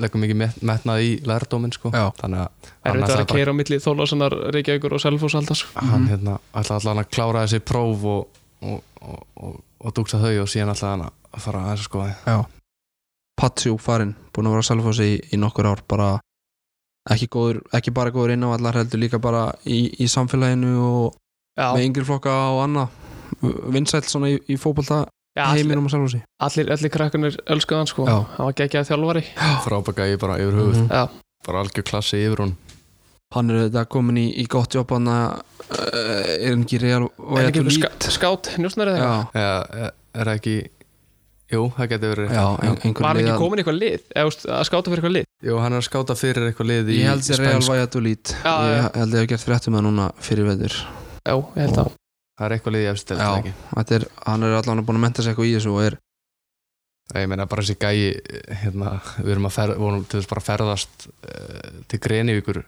Speaker 3: leggur mikið met, metnað í lærdóminn sko.
Speaker 1: Já.
Speaker 3: þannig
Speaker 2: Það
Speaker 3: að
Speaker 2: er
Speaker 3: hann,
Speaker 2: þetta
Speaker 3: ætlaði
Speaker 2: að keira á milli Þólásanar, Reykjavíkur og Selfoss alltaf sko.
Speaker 3: bara- hann
Speaker 1: Mhm.
Speaker 3: hérna, ætla allan að klára þessi próf og, og, og, og, og dúksa þau og síðan ætla hann að fara að þessu sko
Speaker 1: Patsjó farinn, búin að vera að selfósi í, í nokkur ár bara ekki, góður, ekki bara góður inn á allar heldur líka bara í, í samfélaginu og
Speaker 2: Já,
Speaker 1: með yngri flokka og annað vinsælt svona í, í fótbolta
Speaker 2: já allir,
Speaker 1: heiminum og sjálfhúsi
Speaker 2: allir, allir krakkunir elskuðan sko
Speaker 1: Já.
Speaker 2: Hann var geggjað þjálfari
Speaker 3: frábaka ég bara yfir höfuð
Speaker 2: Já,
Speaker 3: bara algjör klassi yfir hún
Speaker 1: hann er þetta komin í, í gott jobb hann að uh, er hann ekki real og
Speaker 2: en
Speaker 1: ég
Speaker 2: ekki
Speaker 1: ætlum lít
Speaker 2: ská- skátt njósnari
Speaker 1: já,
Speaker 2: þegar
Speaker 3: eða e- er það ekki jú, það getur verið
Speaker 1: já, ein, einhver
Speaker 2: Var hann ekki
Speaker 1: liðan-
Speaker 2: komin í eitthvað lið, eða þú veist, að skáta fyrir eitthvað lið
Speaker 3: jú, hann er að skáta fyrir eitthvað lið í,
Speaker 1: ég held
Speaker 3: í
Speaker 1: sér real
Speaker 3: spænsku.
Speaker 1: vægjart og lít
Speaker 2: Já, já.
Speaker 1: ég held ég hef gert fréttum með núna fyrir veður
Speaker 2: Já, ég held að
Speaker 3: það er eitthvað lið í efstel
Speaker 1: Já. Þetta er, hann er allan að búin að menta sig eitthvað í þessu og er
Speaker 3: Ég meina bara þessi gæi hérna, við erum að fer, vorum til þess bara að ferðast uh, til Grenivíkur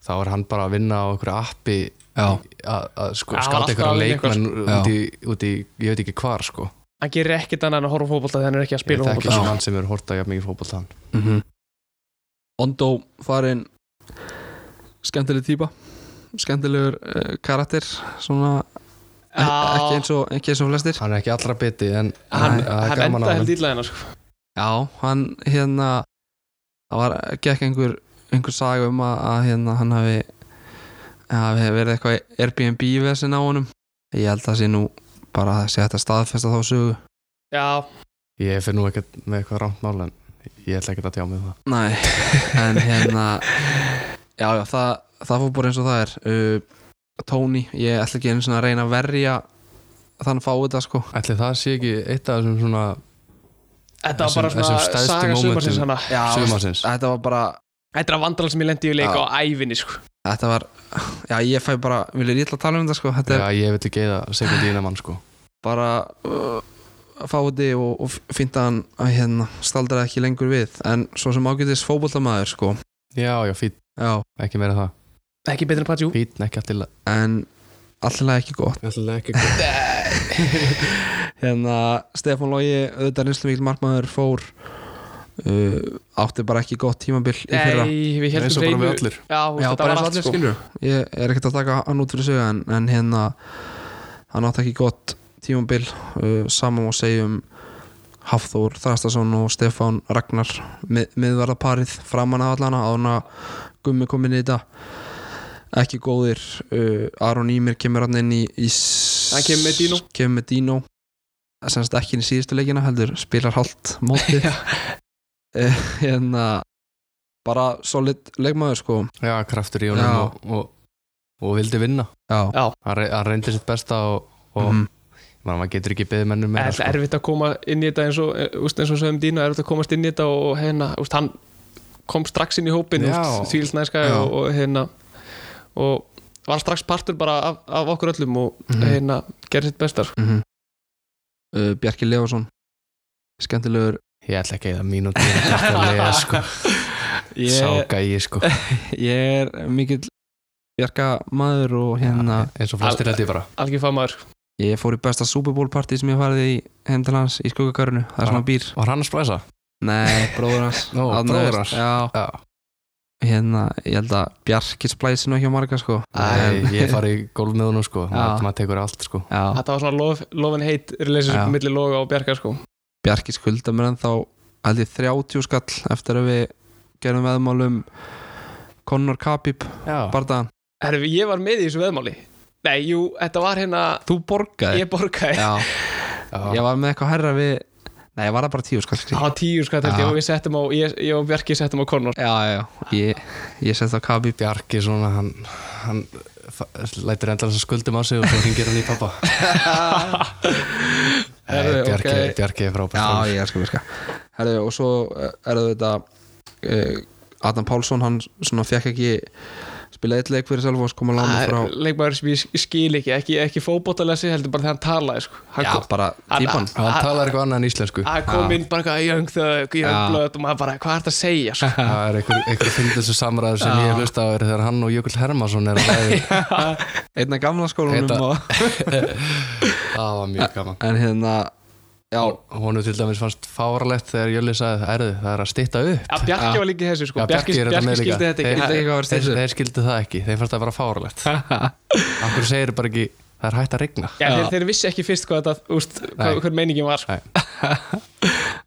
Speaker 3: þá er hann bara að vinna á einhverju appi
Speaker 1: Já.
Speaker 3: að að sko,
Speaker 2: Já,
Speaker 3: skáta
Speaker 2: alltaf
Speaker 3: einhverja
Speaker 2: að vinna sko.
Speaker 3: leikmenn
Speaker 1: Já.
Speaker 3: út í, út í, ég veit ekki hvar sko
Speaker 2: hann gerir ekkit annað en að horfa á fótbolta þegar hann er ekki að
Speaker 3: ég
Speaker 2: spila
Speaker 3: þekki
Speaker 2: fótbolta
Speaker 3: ekki mann sem er hortað jafn mikið fótbolt hann
Speaker 1: mm -hmm. Ondo farin skemmtileg típa skemmtilegur uh, karakter svona e
Speaker 2: Já.
Speaker 1: ekki eins og ekki eins og flestir
Speaker 3: hann er ekki allra biti en
Speaker 2: hann,
Speaker 3: en það er
Speaker 2: hann
Speaker 3: gaman
Speaker 2: enda
Speaker 3: að
Speaker 2: held ítlaðina sko.
Speaker 1: já, hann hérna það var, gekk einhver einhver saga um að, að hérna hann hafi hafi verið eitthvað Airbnb vesin á honum ég held að það sé nú bara að sé þetta staðfesta þá sögu
Speaker 2: já,
Speaker 3: ég fer nú ekkert með eitthvað rámt mál en ég ætla ekkert að tjá mig um það
Speaker 1: Nei, en hérna Já, já, það, það fór bara eins og það er uh, Tony, ég ætla ekki einu svona að reyna að verja þann fáið það sko
Speaker 3: ætli það sé ekki eitt af þessum svona
Speaker 2: þetta var
Speaker 3: Þessum-
Speaker 2: bara svona
Speaker 3: þessum stærstu
Speaker 2: saga sumarsins
Speaker 3: momentum.
Speaker 2: hana
Speaker 1: já,
Speaker 3: sumarsins
Speaker 1: Þetta var bara,
Speaker 2: þetta er vandral sem ég lendi í leik
Speaker 1: Já.
Speaker 2: á ævinni sko.
Speaker 1: þetta var Já, ég fæ bara, vil ég ítla að tala um þetta sko Þetta
Speaker 3: já ég vil ekki eða segja dýna mann sko
Speaker 1: er bara uh, fáiði og, og fínt að hann að hérna, staldra ekki lengur við en svo sem ágætis fótboltamaður sko
Speaker 3: já já fít
Speaker 1: Já,
Speaker 3: ekki meira það
Speaker 2: ekki betur en Patjú
Speaker 3: fít ekki allir
Speaker 1: en allilega ekki gott
Speaker 3: allir ekki gott
Speaker 1: hérna Stefán Lógi auðvitað reynslu mikil markmaður fór uh, átti bara ekki gott tímabil í fyrra
Speaker 2: nei, við
Speaker 3: eins og
Speaker 2: heldum hreinu
Speaker 3: bara með allir
Speaker 2: já, þú veist, þetta var allt sko.
Speaker 1: skilur ég er ekkert að taka hann út fyrir sig en, en hérna hann átti ekki gott tímabil uh, saman og segjum Hafþór Þrastason og Stefán Ragnar mið, miðvarðarparið framan af allana á hana gummi komin í þetta ekki góðir uh, Aron Ímir kemur hann inn í, í s-
Speaker 2: Hann kemur með Dino.
Speaker 1: kemur með Dino semst ekki inn í síðustu leikina heldur spilar hálft mótið Eh, hérna bara solid leikmaður sko
Speaker 3: já kraftur í
Speaker 1: Já.
Speaker 3: honum og, og, og vildi vinna
Speaker 1: já,
Speaker 2: já,
Speaker 3: hann, re hann reyndi sitt besta og, og
Speaker 1: Mhm.
Speaker 3: man, maður getur ekki beðið mennum
Speaker 2: En
Speaker 3: meira sko.
Speaker 1: sko.
Speaker 2: Það er erfitt að koma inn í þetta eins og eh, úst, eins og sögum dýna, erfitt að komast inn í þetta og hérna, úst, hann kom strax inn í hópin
Speaker 3: Já.
Speaker 2: þvílsnæska
Speaker 1: Já.
Speaker 2: og, og hérna og var strax partur bara af, af okkur öllum og
Speaker 1: Mhm.
Speaker 2: hérna gerði sitt bestar
Speaker 1: mm
Speaker 3: Mhm.
Speaker 1: uh, Bjarki Lefason skemmtilegur
Speaker 3: ég ætla ekki að mínúti að lega sko sá gæi sko
Speaker 1: ég er mikill Bjarka maður og hérna
Speaker 3: eins og flestir held ég bara
Speaker 2: algjör famaður
Speaker 1: ég fór í besta Super Bowl party sem ég farið í heim til hans í skuggakarinu, það er svona býr
Speaker 3: var hann að splæsa?
Speaker 1: nei, bróður hans
Speaker 3: Ah. Nú,
Speaker 1: Hann
Speaker 3: bróðir
Speaker 1: er-
Speaker 3: hans.
Speaker 1: já,
Speaker 3: já
Speaker 1: hérna, ég held að Bjarki splæsi nú ekki á marga sko
Speaker 3: Æ,
Speaker 1: En-
Speaker 3: ég fari í golf með honum sko
Speaker 1: Já.
Speaker 3: maður maður tekur allt sko
Speaker 1: já,
Speaker 2: þetta var svona lof, lof and hate relationship
Speaker 1: Já.
Speaker 2: millir loga og bjarga sko
Speaker 1: Bjarki skulda mér ennþá held ég 30 skall eftir að við gerum veðmálum Conor Kapip
Speaker 3: já
Speaker 1: bardaðan
Speaker 2: Herfi, ég var með í þessu veðmáli nei, jú, þetta var hérna
Speaker 1: þú borgaði
Speaker 2: ég borgaði
Speaker 1: já, ég
Speaker 3: já
Speaker 1: var með eitthvað herra við nei, ég var það bara sko. 10 skall
Speaker 2: það
Speaker 1: já,
Speaker 2: var tíu skatt held ég
Speaker 1: Já.
Speaker 2: og við settum á ég, ég og Bjarki settum á Conor
Speaker 1: já, já, ég, ég sett það Kapip
Speaker 3: Bjarki svona hann hann fa- lætur endalans að skuldum á sig og svo hringir hann í pappa Nei,
Speaker 2: Herðu,
Speaker 3: Bjarki,
Speaker 2: ok.
Speaker 3: Bjarki er frábært
Speaker 1: Já,
Speaker 3: strákur.
Speaker 1: ég elskar virka Herðu, og svo eh, er þetta eh, Adam Pálsson, hann svona fekk ekki spila eitt leik fyrir sjálf og kom að lána
Speaker 2: Það
Speaker 1: frá
Speaker 2: er leikmaður sem ég skil ekki ekki, ekki fótbótalessi, heldur bara þegar hann talaði sko. hann
Speaker 1: Já,
Speaker 2: kom,
Speaker 1: bara
Speaker 2: Hann-
Speaker 1: típan
Speaker 3: hann talar eitthvað annað en íslensku
Speaker 2: hann kom inn bara eitthvað jöng þegar
Speaker 1: Já.
Speaker 2: jöng blöð og maður bara, hvað er þetta að segja sko?
Speaker 3: Það er einhver, einhver fyndið þessu samræður sem ég hlust á er þegar hann og Jökull Hermansson er að ræða
Speaker 1: Einna gamla skólanum
Speaker 3: Þetta-
Speaker 1: og,
Speaker 3: Það var mjög gaman
Speaker 1: En hérna, já,
Speaker 3: Honu til dæmis fannst fáralegt þegar Jölli sagði Erðu, það er að stytta upp
Speaker 2: Já, Bjarki
Speaker 1: Já.
Speaker 2: var líka í þessu sko.
Speaker 3: Já,
Speaker 2: Bjarki,
Speaker 3: Bjarki er þetta
Speaker 2: Bjarki
Speaker 3: með líka.
Speaker 2: skildi þetta
Speaker 1: ég
Speaker 2: ekki
Speaker 1: veit
Speaker 2: Nei,
Speaker 1: ekki hvað var
Speaker 3: þeir,
Speaker 1: styrstu
Speaker 3: þeir skildu það ekki, þeir fannst það bara fáralegt Akkur segir bara ekki Það er hægt að regna
Speaker 2: Já, þeir, þeir vissi ekki fyrst hvað þetta úst, hvað,
Speaker 3: Nei.
Speaker 2: hver meiningin var sko.
Speaker 3: Nei.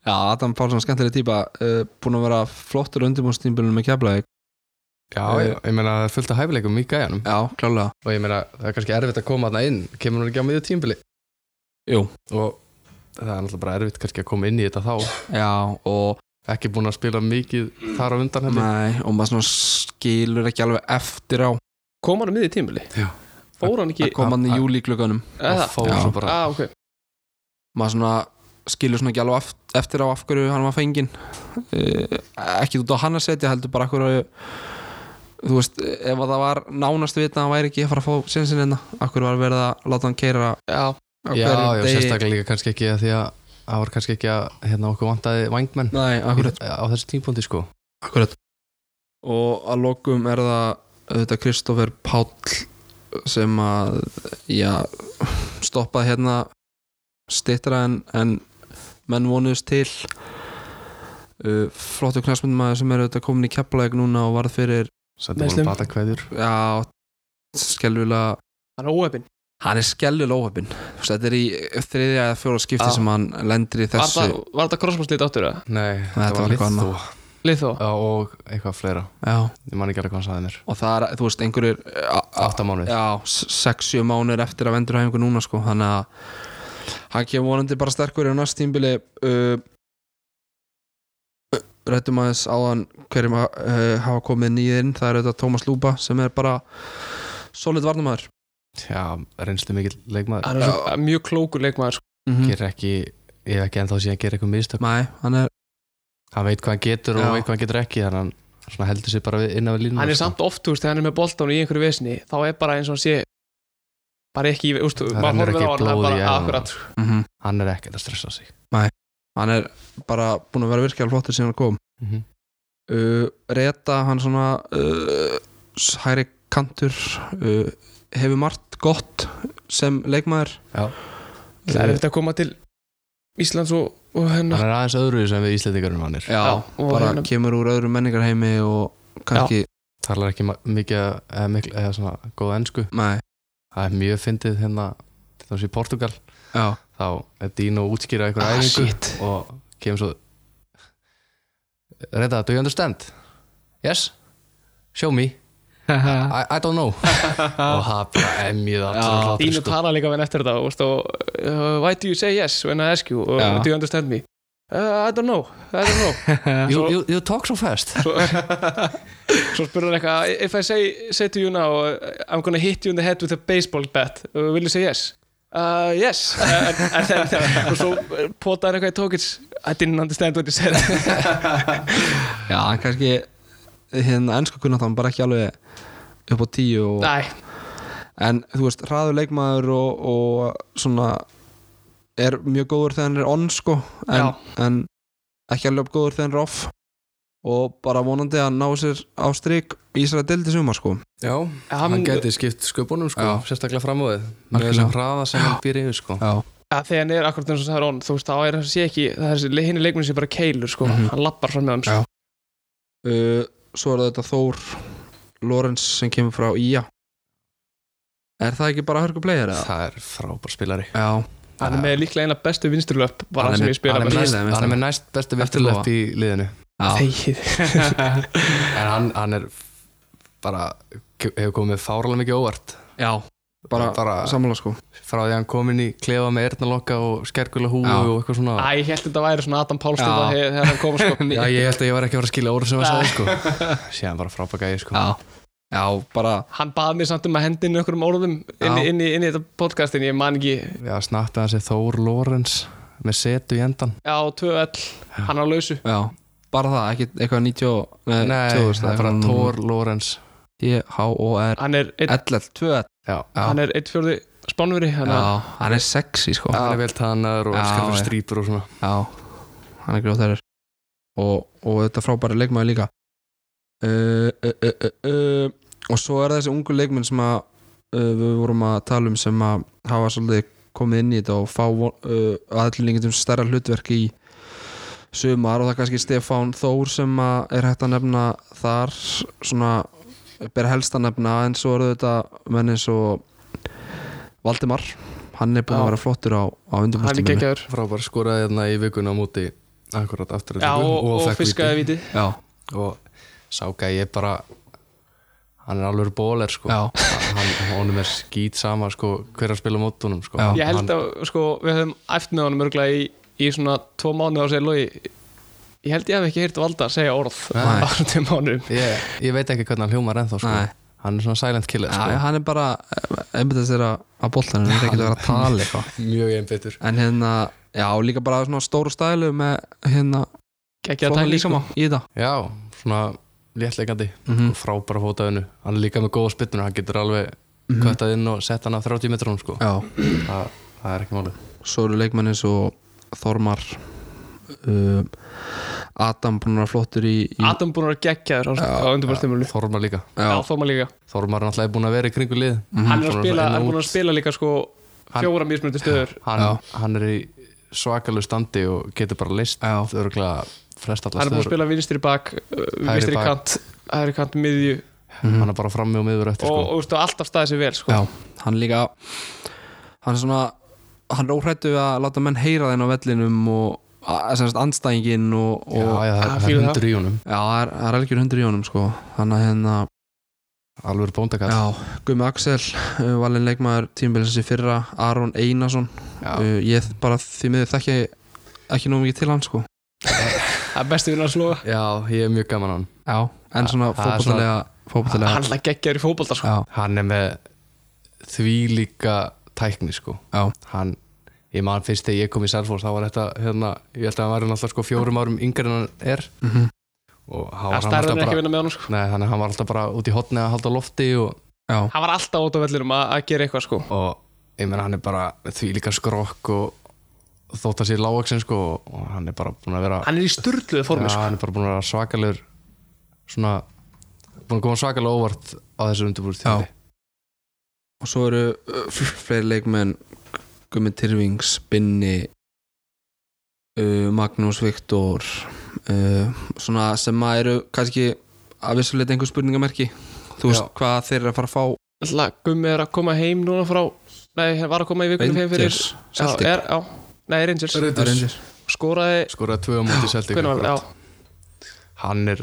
Speaker 1: Já, Adam Pálsson, skemmtileg típa uh, Búin að vera flottur undirbúnstímbunum með keflaði
Speaker 3: Já,
Speaker 1: Eh,
Speaker 3: ég, ég meina það er fullt af hæfileikum í gæjanum
Speaker 1: Já, klálega
Speaker 3: Og ég meina það er kannski erfitt að koma þarna inn Kemur hann ekki á miðju tímbili
Speaker 1: Jú.
Speaker 3: Og það er náttúrulega bara erfitt kannski að koma inn í þetta þá
Speaker 1: Já, og,
Speaker 3: Ekki búin að spila mikið þar á undan henni
Speaker 1: nei, og maður svona skilur ekki alveg eftir á
Speaker 2: kom hann um miðið tímili
Speaker 3: Já.
Speaker 2: fór hann ekki
Speaker 1: að koma hann í
Speaker 3: Að- að-
Speaker 1: júlíklökanum
Speaker 3: Og
Speaker 2: eða?
Speaker 3: fór
Speaker 1: Já.
Speaker 3: svo bara
Speaker 2: ah, okay.
Speaker 1: maður svona skilur svona ekki alveg aft- eftir á af hverju hann var fenginn uh, ekki út á hann að setja heldur bara af hverju þú veist, ef að það var nánast vita að hann væri ekki að fara að fá sinnsinn hérna af hverju var verið að láta hann keira
Speaker 2: já,
Speaker 1: á
Speaker 3: Já,
Speaker 1: hverjum
Speaker 3: já,
Speaker 1: degi.
Speaker 3: sérstaklega líka kannski ekki að því að það var kannski ekki að hérna, okkur vantaði vangmenn
Speaker 1: Nei, akkurat,
Speaker 3: á þessu tímpóndi sko
Speaker 1: akkurat Og að lokum er það auðvitað Kristoffer Páll sem að já, stoppaði hérna stittra en, en menn vonuðist til uh, flottu knæsmyndmaður sem er auðvitað komin í keflaðeg núna og varð fyrir
Speaker 3: Sendur
Speaker 2: Meiðslum.
Speaker 3: honum batakveður
Speaker 1: já, skelvilega
Speaker 2: hann er óöfin
Speaker 1: hann er skelvilega óhefn þetta er í þriðja eða fjóra skipti
Speaker 3: Ah.
Speaker 1: sem hann lendir í
Speaker 2: var
Speaker 1: þessu
Speaker 2: það, var það krossmannslít áttur eða?
Speaker 3: Nei,
Speaker 1: þetta var eitthvað
Speaker 3: Lithó.
Speaker 2: lið þó
Speaker 3: Já, og eitthvað fleira
Speaker 1: já,
Speaker 3: Ég man ekki alveg hvað hann saði mér
Speaker 1: og það er, þú veist, einhverjir uh,
Speaker 3: Áttamánuð
Speaker 1: já, 6-7 mánuðir eftir að vendur hæfingu núna sko, þannig að hann kemur vonandi bara sterkur í næst tímbili uh, rættum aðeins áðan hverjum að, uh, hafa komið nýð inn það er auðvitað Tómas Lúba sem er bara solid varnamæður
Speaker 3: Já, reynslu mikill leikmaður
Speaker 2: hann er svo mjög klókur leikmaður sko.
Speaker 1: mm
Speaker 3: Gerir ekki, ég hef ekki ennþá síðan að gera eitthvað mistök
Speaker 1: Nei, hann er
Speaker 3: Hann veit hvað hann getur og
Speaker 1: Já.
Speaker 3: veit hvað hann getur ekki Þannig að hann svona heldur sér bara við, innan við línum
Speaker 2: hann er samt oft, þú veist, þegar hann er með boltan í einhverju vesni þá er bara eins og hann sé bara ekki, í- þú veist,
Speaker 3: Það
Speaker 2: maður
Speaker 3: rennur
Speaker 2: horfir á hann það
Speaker 3: ekki
Speaker 2: er
Speaker 3: blóð í
Speaker 2: bara
Speaker 3: æðarnar.
Speaker 2: akkurat sko.
Speaker 1: mm
Speaker 3: Hann er ekkert að stressa sig
Speaker 1: hann er bara búin að vera virkilega flottur síðan hann kom
Speaker 3: Mhm.
Speaker 1: uh, Reta, hann svona uh, hæri kantur uh, hefur margt gott sem leikmaður
Speaker 3: Já.
Speaker 2: það er
Speaker 1: uh,
Speaker 2: eftir að koma til Íslands og, og hennar
Speaker 3: Hann er aðeins öðru sem við Íslandingarum hann er
Speaker 1: já,
Speaker 2: Já, og
Speaker 1: bara
Speaker 2: hérna-
Speaker 1: kemur úr öðrum menningarheimi og kannski,
Speaker 3: Talar ekki ma- mikið, eða, mikil, eða svona góða ennsku
Speaker 1: nei,
Speaker 3: Það er mjög fyndið hérna Til þessi í Portugal
Speaker 1: já
Speaker 3: Þá er Dino að útskýra eitthvað
Speaker 1: Ah,
Speaker 3: æfingu
Speaker 1: shit.
Speaker 3: Og kemur svo Reta, do you understand? Yes? Show me I, I don't know
Speaker 2: Ah.
Speaker 3: og það bara emjið
Speaker 1: Já.
Speaker 3: allra
Speaker 2: Dínu tala líka við hann eftir þetta veist, og, uh, Why do you say yes when I ask you uh,
Speaker 1: Já.
Speaker 2: Do you understand me? Uh, I don't know, I don't know
Speaker 3: you, you, you talk so fast
Speaker 2: Svo, svo spurði hann eitthvað If I say, say to you now uh, I'm gonna hit you in the head with a baseball bat uh, Will you say yes? Uh, yes and, and then, Og svo uh, potaði hann eitthvað í tókits I didn't understand what you said
Speaker 1: já, hann kannski hérna ennsku kunnat hann bara ekki alveg upp á tíu og,
Speaker 2: Næ,
Speaker 1: en þú veist, hraður leikmaður og, og svona er mjög góður þegar hann er on sko en, en ekki alveg upp góður þegar hann er off og bara vonandi að ná sér á strik í Ísra dildi sumar sko
Speaker 3: Já,
Speaker 2: hann, hann
Speaker 3: gæti skipt sköpunum sko, sérstaklega framöðið
Speaker 1: Algjörlega.
Speaker 3: með þessum hraða sem hann býr yfir sko.
Speaker 1: Já,
Speaker 2: að þegar hann er akkurat eins og það er on Þú veist, þá er hann sé ekki Þessi hinn er leikmenn sem bara keilur sko.
Speaker 1: Mhm.
Speaker 2: Hann lappar fram með hann sko.
Speaker 1: Já. uh, Svo er það þetta Þór Lorenz sem kemur frá Ía Er það ekki bara hörku player eða?
Speaker 3: Það er frábær spilari
Speaker 1: Já,
Speaker 2: Hann er með líklega eina bestu vinsturlöp
Speaker 1: Hann
Speaker 2: Bara
Speaker 1: er
Speaker 2: sem
Speaker 1: með-
Speaker 2: ég spila
Speaker 1: hann er
Speaker 2: með
Speaker 1: með-
Speaker 3: næst,
Speaker 1: leiðinlega,
Speaker 3: hann er með næst bestu
Speaker 1: Eftir
Speaker 3: vesturlöp í liðinu
Speaker 1: já,
Speaker 2: Þegið
Speaker 3: en hann, hann er f- bara hefur komið fárlega mikið óvart
Speaker 1: já Bara, bara
Speaker 3: Bara-
Speaker 1: sammála sko
Speaker 3: frá því að hann kom inn í klefa með ernalokka og skergulega húfu
Speaker 1: Já.
Speaker 3: og eitthvað svona
Speaker 2: Æ, ég held þetta væri svona Adam Pálsson
Speaker 1: Já.
Speaker 2: Þegar hann kom sko.
Speaker 3: Já, ég held að ég var ekki að fara að skilja orð sem hann sagði sko. síðan bara frábær gæði sko.
Speaker 1: Já, bara
Speaker 2: hann baði mér samt um að hendi inn einhverjum orðum inn, í-
Speaker 1: Já.
Speaker 2: inn, í- inn í þetta podcastin, ég man ekki
Speaker 3: Já, snappið hans er Þór Lorenz með setu í endan
Speaker 2: já, 2L, hann á lausu
Speaker 1: Já, bara það, ekki eitthvað 90 Nei,
Speaker 3: Nei, það er bara Thor Lorenz
Speaker 1: T-H-O-R
Speaker 2: hann er, einn-
Speaker 1: 11, 2
Speaker 3: Já,
Speaker 2: hann er eitt fjörði spánveri hann
Speaker 3: Hérna.
Speaker 2: er,
Speaker 1: Já, hann er sexy sko
Speaker 3: hann er vel tannar og
Speaker 1: Já,
Speaker 3: elskar fyrir
Speaker 1: já.
Speaker 3: strýpur og svona
Speaker 1: Já, hann er grjótæður og, og þetta frábæri leikmaður líka uh, uh, uh, uh, uh. og svo er þessi ungu leikmenn sem að uh, við vorum að tala um sem að hafa svolítið komið inn í þetta og fá uh, aðlýningatum stærra hlutverk í sumar og það er kannski Stefán Þór sem að er hægt að nefna þar svona ber helst að nefna en svo eru þetta menn eins og Valdimar hann er búinn
Speaker 2: Já.
Speaker 1: að vera flottur á, á
Speaker 2: hann er
Speaker 1: undirbúrstum
Speaker 2: geggjaður
Speaker 3: frábær skoraði hérna í vikuna á móti akkurat aftur
Speaker 2: já, og, og,
Speaker 3: fékk
Speaker 2: fiskaði viti
Speaker 1: Já,
Speaker 3: víti. og sá gæði bara hann er alveg bóler sko
Speaker 1: já
Speaker 3: hann, honum er skýt sama sko hver að spila á mótunum sko
Speaker 1: Já.
Speaker 2: ég held
Speaker 3: hann,
Speaker 2: að, sko, við höfum æft með honum örgulega í, í svona tvo mánuð á sér logi ég held ég hef ekki heyrt valda að segja orð
Speaker 3: Nei.
Speaker 2: á tveim mánuðum
Speaker 3: ég, ég veit ekki hvernig hann hljómar ennþá sko
Speaker 1: Nei.
Speaker 3: hann er svona silent killer
Speaker 1: Já,
Speaker 3: sko
Speaker 1: já, hann er bara einbætt að þeirra að bolta hann er ekki að vera að tala eitthvað
Speaker 3: mjög einbyttur
Speaker 1: en hérna, já, líka bara svona stóru stælu með hérna
Speaker 2: geggjaða tækni
Speaker 1: líka
Speaker 2: sko.
Speaker 1: í það
Speaker 3: já, svona léttleikandi
Speaker 1: mm
Speaker 3: og frábæra fótaðinu hann er líka með góða spytnur hann getur alveg mm
Speaker 1: Mhm.
Speaker 3: inn og sett hann af 30 metrum sko
Speaker 1: Já,
Speaker 3: það, það er ekki málið
Speaker 1: svo eru leikmenni svo Þormar uh, Adam búin að vera flottur í, í
Speaker 2: Adam búinn að vera geggjaður á, á undirbúrstimulinu
Speaker 3: Þormar líka
Speaker 2: Já, Þormar líka
Speaker 3: Þormar er náttúrulega búin að vera í kringu lið
Speaker 1: mhm,
Speaker 2: Hann er að spila, hann er búinn
Speaker 3: búin
Speaker 2: að spila líka sko fjóra mismunandi stöður
Speaker 3: hann, hann er í svakalug standi og getur bara list
Speaker 1: Já.
Speaker 3: örgulega frest alla
Speaker 2: Hann er búinn að
Speaker 3: stöður
Speaker 2: spila vinstri bak, uh, vinstri
Speaker 3: bak.
Speaker 2: kant Hægri kant, miðju
Speaker 1: mhm.
Speaker 3: hann er bara frammi og miður eftir
Speaker 2: og,
Speaker 3: sko.
Speaker 2: og veistu, alltaf staðið sér vel sko.
Speaker 1: Já, hann líka hann er svona hann er óhrættu við að láta menn heyra þenn á vellinum og að- sem sagt andstæðingin og,
Speaker 3: já,
Speaker 1: og
Speaker 3: já, það er-
Speaker 2: Ah,
Speaker 3: það
Speaker 2: fíla
Speaker 3: er
Speaker 2: það.
Speaker 3: hundur í honum
Speaker 1: já, það er, það er algjör hundur í honum sko hann að hérna,
Speaker 3: alveg bóndakall
Speaker 1: já, Gumi Axel uh, valin leikmaður tímbilsins í fyrra Aron Einarsson
Speaker 3: Já.
Speaker 1: uh, ég bara því miður þekki ekki nóg mikið til hann sko
Speaker 2: Það er besti sko. vinna að slóa
Speaker 3: já, ég er mjög gaman á hann
Speaker 1: já, en svona
Speaker 3: það er
Speaker 1: fótbollega fótbollega,
Speaker 2: Hann er geggjaður í fótbolta sko.
Speaker 1: já,
Speaker 3: hann er með því líka tækni sko
Speaker 1: já,
Speaker 3: hann, ég man fyrst þegar ég kom í Selfors þá var þetta, hérna, ég held að hann var alltaf sko fjórum árum yngri en hann er
Speaker 1: mhm,
Speaker 3: og hann
Speaker 2: Það
Speaker 3: var hann
Speaker 2: stærðan
Speaker 3: alltaf
Speaker 2: er ekki að
Speaker 3: bara
Speaker 2: vinna með honum sko.
Speaker 3: Nei, þannig að hann var alltaf bara út í hotni að halda á lofti og,
Speaker 1: já,
Speaker 2: Hann var alltaf út á vellinum að að gera eitthvað sko.
Speaker 3: og ég meina hann er bara því líka skrokk og þótt að sér lágaksin sko og- og hann er bara búin að vera
Speaker 2: Hann er í styrluðu formi
Speaker 3: ja,
Speaker 2: sko.
Speaker 3: hann er bara búin að vera svakalegur svona, búin að koma svakalega óvart á þessu undirbúrst
Speaker 1: Já. og svo eru uh, f- fleiri leikmenn Gumi Tyrfings, Binni uh, Magnús Viktor uh, svona sem að eru kannski að vissuleita einhver spurningamerki þú veist
Speaker 3: Já.
Speaker 1: hvað þeir eru að fara að fá
Speaker 2: Alltaf Gummi er að koma heim núna frá Nei, hann var að koma í vikunum heim fyrir
Speaker 1: Rangers,
Speaker 2: Já,
Speaker 1: Celtic.
Speaker 2: er, já, nei, Rangers
Speaker 1: Rangers.
Speaker 2: Skoraði
Speaker 3: skoraði tvö á móti Celtic
Speaker 2: Hvernig var
Speaker 3: akkurat.
Speaker 2: já,
Speaker 3: hann er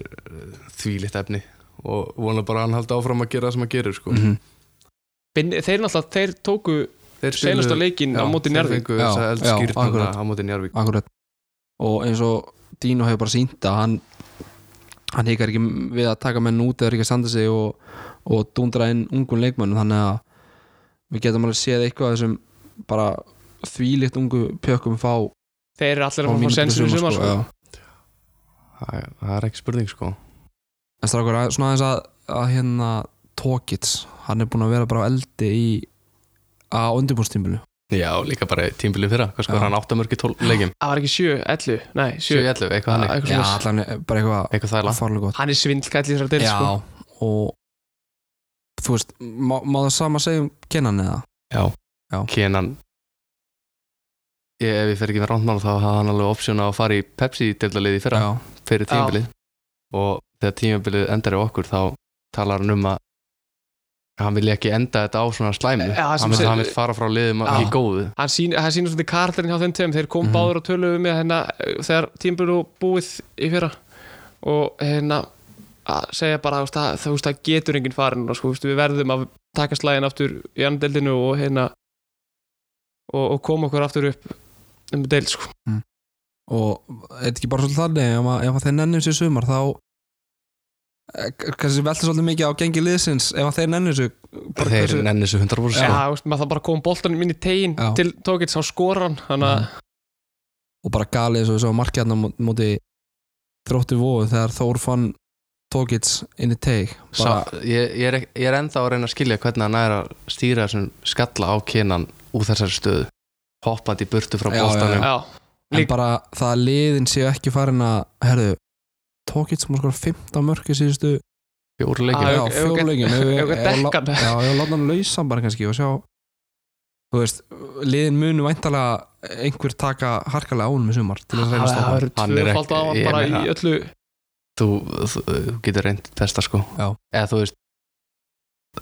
Speaker 3: þvílitt efni og vona bara að hann haldi áfram að gera það sem hann gerir sko.
Speaker 1: Mhm.
Speaker 2: Binni- Þeir náttúrulega, þeir tóku
Speaker 3: Þeir spiluðu-
Speaker 2: senasta leikinn á
Speaker 3: Já,
Speaker 2: móti
Speaker 3: þeir
Speaker 2: Njárvík
Speaker 3: fengu
Speaker 1: Já,
Speaker 3: þessa
Speaker 1: já,
Speaker 3: eldskýrnuna
Speaker 1: akkurat.
Speaker 3: á móti Njárvík
Speaker 1: Akkurat. og eins og Dino hefur bara sínt að hann hann hikar ekki við að taka menn út eða ekki að standa sig og, og dundra inn ungun leikmönnum þannig að við getum alveg séð eitthvað af þessum bara þvílikt ungu pjökkum fá
Speaker 2: Þeir eru allir
Speaker 1: fá
Speaker 2: að fá
Speaker 1: mínútur
Speaker 2: sensin í sumar sko.
Speaker 1: já.
Speaker 3: það, það er ekki spurning sko
Speaker 1: En strákur, að- svona aðeins að, að hérna Tókits, hann er búinn að vera bara á eldi í á undirbúrstímbulu
Speaker 3: já, líka bara tímbilið fyrra hvað sko
Speaker 1: Já.
Speaker 3: hann áttamörki tól leikim
Speaker 2: Það var ekki 7, 11, nei, 7
Speaker 3: 7-11, eitthvað
Speaker 2: Já,
Speaker 3: hann
Speaker 2: eitthvað
Speaker 1: Já,
Speaker 2: svoleiðis.
Speaker 1: allan er bara eitthvað
Speaker 3: eitthvað það er langt
Speaker 1: farlega gott
Speaker 2: Hann er svindlkall í þessari deil
Speaker 1: Já,
Speaker 2: sko.
Speaker 1: og þú veist, má, má það sama segja um kennan eða?
Speaker 3: Kenan ég, ef ég fer ekki með rándmál þá hafði hann alveg option á að fara í Pepsi deildaliði fyrra
Speaker 1: Já,
Speaker 3: fyrir
Speaker 2: Já.
Speaker 3: tímabilið og þegar tímabilið endar í okkur þá talar hann um að hann vil ekki enda þetta á svona slæmi
Speaker 2: Já, það sem
Speaker 3: hann, vil,
Speaker 2: segir-
Speaker 3: hann vil fara frá liðum
Speaker 2: Já.
Speaker 3: í góðu
Speaker 2: Hann sýn- hann sýnir svona karakterinn hjá þeim tveim Þeir kom
Speaker 1: Mhm.
Speaker 2: báður og töluðu með hérna eh, Þegar tímbil og búið í fyrra Og hérna að segja bara þú veist, að þú veist að getur enginn farin og sko, þú veist, við verðum að taka slæðin aftur í andeldinu og hérna og, og koma okkur aftur upp um deild sko
Speaker 1: og er ekki bara svolítið þannig ef, að, ef að þeir nennum sér sumar þá eh, k- kannski velta svolítið mikið á gengi liðsins ef að þeir nennum sér bara
Speaker 3: þeir
Speaker 1: hversu-
Speaker 3: nenni þessu 100%
Speaker 2: Já,
Speaker 3: sko.
Speaker 2: þú veist, maður það bara kom boltanum inn í tegin
Speaker 1: Já.
Speaker 2: til tókits á skoran þannig að
Speaker 1: og bara galið eins og við sáum markjarnar hérna móti þrótti vóðu þegar Þór fann Tókits inn í teig bara,
Speaker 3: Sá, ég, ég, er, ek- ég er ennþá að reyna að skilja hvernig hann er að stýra þessum skalla á kenan úr þessari stöðu hoppandi í burtu frá
Speaker 1: Já,
Speaker 3: bóltanum
Speaker 2: já,
Speaker 1: en bara það að liðin séu ekki farin að herðu, Tókits múr skora 15 mörki síðustu
Speaker 3: fjóruleikin
Speaker 2: Já,
Speaker 1: já,
Speaker 2: ef- ef-
Speaker 1: fjórulegjum
Speaker 2: ef- ef- dekkan.
Speaker 1: já, já, láta hann lausan bara kannski og sjá þú veist, liðin munu væntalega einhver taka harkalega án með sumar til þess að reyna að
Speaker 2: það
Speaker 1: stoppa
Speaker 2: eru
Speaker 3: Hann er ekki-
Speaker 2: tvöfald á hann
Speaker 3: ég
Speaker 2: bara
Speaker 3: meina-
Speaker 2: í öllu
Speaker 3: þú, þú, þú getur reynd besta sko
Speaker 1: Já.
Speaker 3: eða þú veist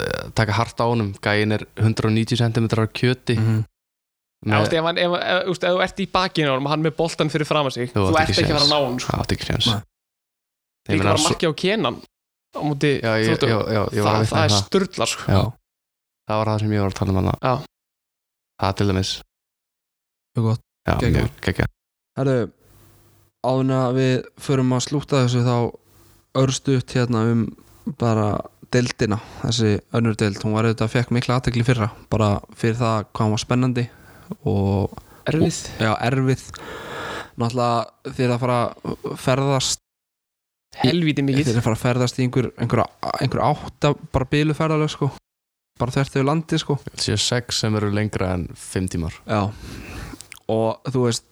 Speaker 3: eh, taka hart á honum, gæin er 190 cm á kjöti
Speaker 1: Mhm.
Speaker 2: Já, þú
Speaker 3: með,
Speaker 2: veist, ef, Mm. hann- ef, ef, þú veist, ef þú ert í bakinu á honum og hann með boltan fyrir fram að sig þú,
Speaker 3: Þú átt
Speaker 2: ert
Speaker 3: ekki
Speaker 2: ekki að fara að
Speaker 3: séns.
Speaker 2: ná hann sko.
Speaker 3: það átti ekki séns
Speaker 1: Nei.
Speaker 2: líka
Speaker 3: Ég meina,
Speaker 2: bara
Speaker 3: svo-
Speaker 2: markið á kenan á móti
Speaker 3: já, ég,
Speaker 2: Þróttur.
Speaker 3: já, já, ég var
Speaker 2: það,
Speaker 3: að
Speaker 2: það
Speaker 3: hérna- vitna í
Speaker 2: er
Speaker 3: það
Speaker 2: sturdlar sko.
Speaker 3: Já. það var það sem ég var að tala um hana
Speaker 2: Já.
Speaker 3: það til dæmis
Speaker 1: Mjög gott.
Speaker 3: já,
Speaker 1: Geggjað.
Speaker 3: mjög geggja
Speaker 1: Herru, áðun að við förum að slúta þessu þá örstuðt hérna um bara deildina, þessi önnur deild hún var auðvitað, fekk mikla aðtekli fyrra bara fyrir það hvað hún var spennandi og
Speaker 2: erfið
Speaker 1: já, erfið náttúrulega þeir að fara að ferðast
Speaker 2: helvítið mikið
Speaker 1: þeir að fara að ferðast í einhver, einhver, einhver átta bara bílu ferðaleg sko bara þvert yfir landi sko
Speaker 3: séu sex sem eru lengra en fimm tímar
Speaker 1: já. og þú veist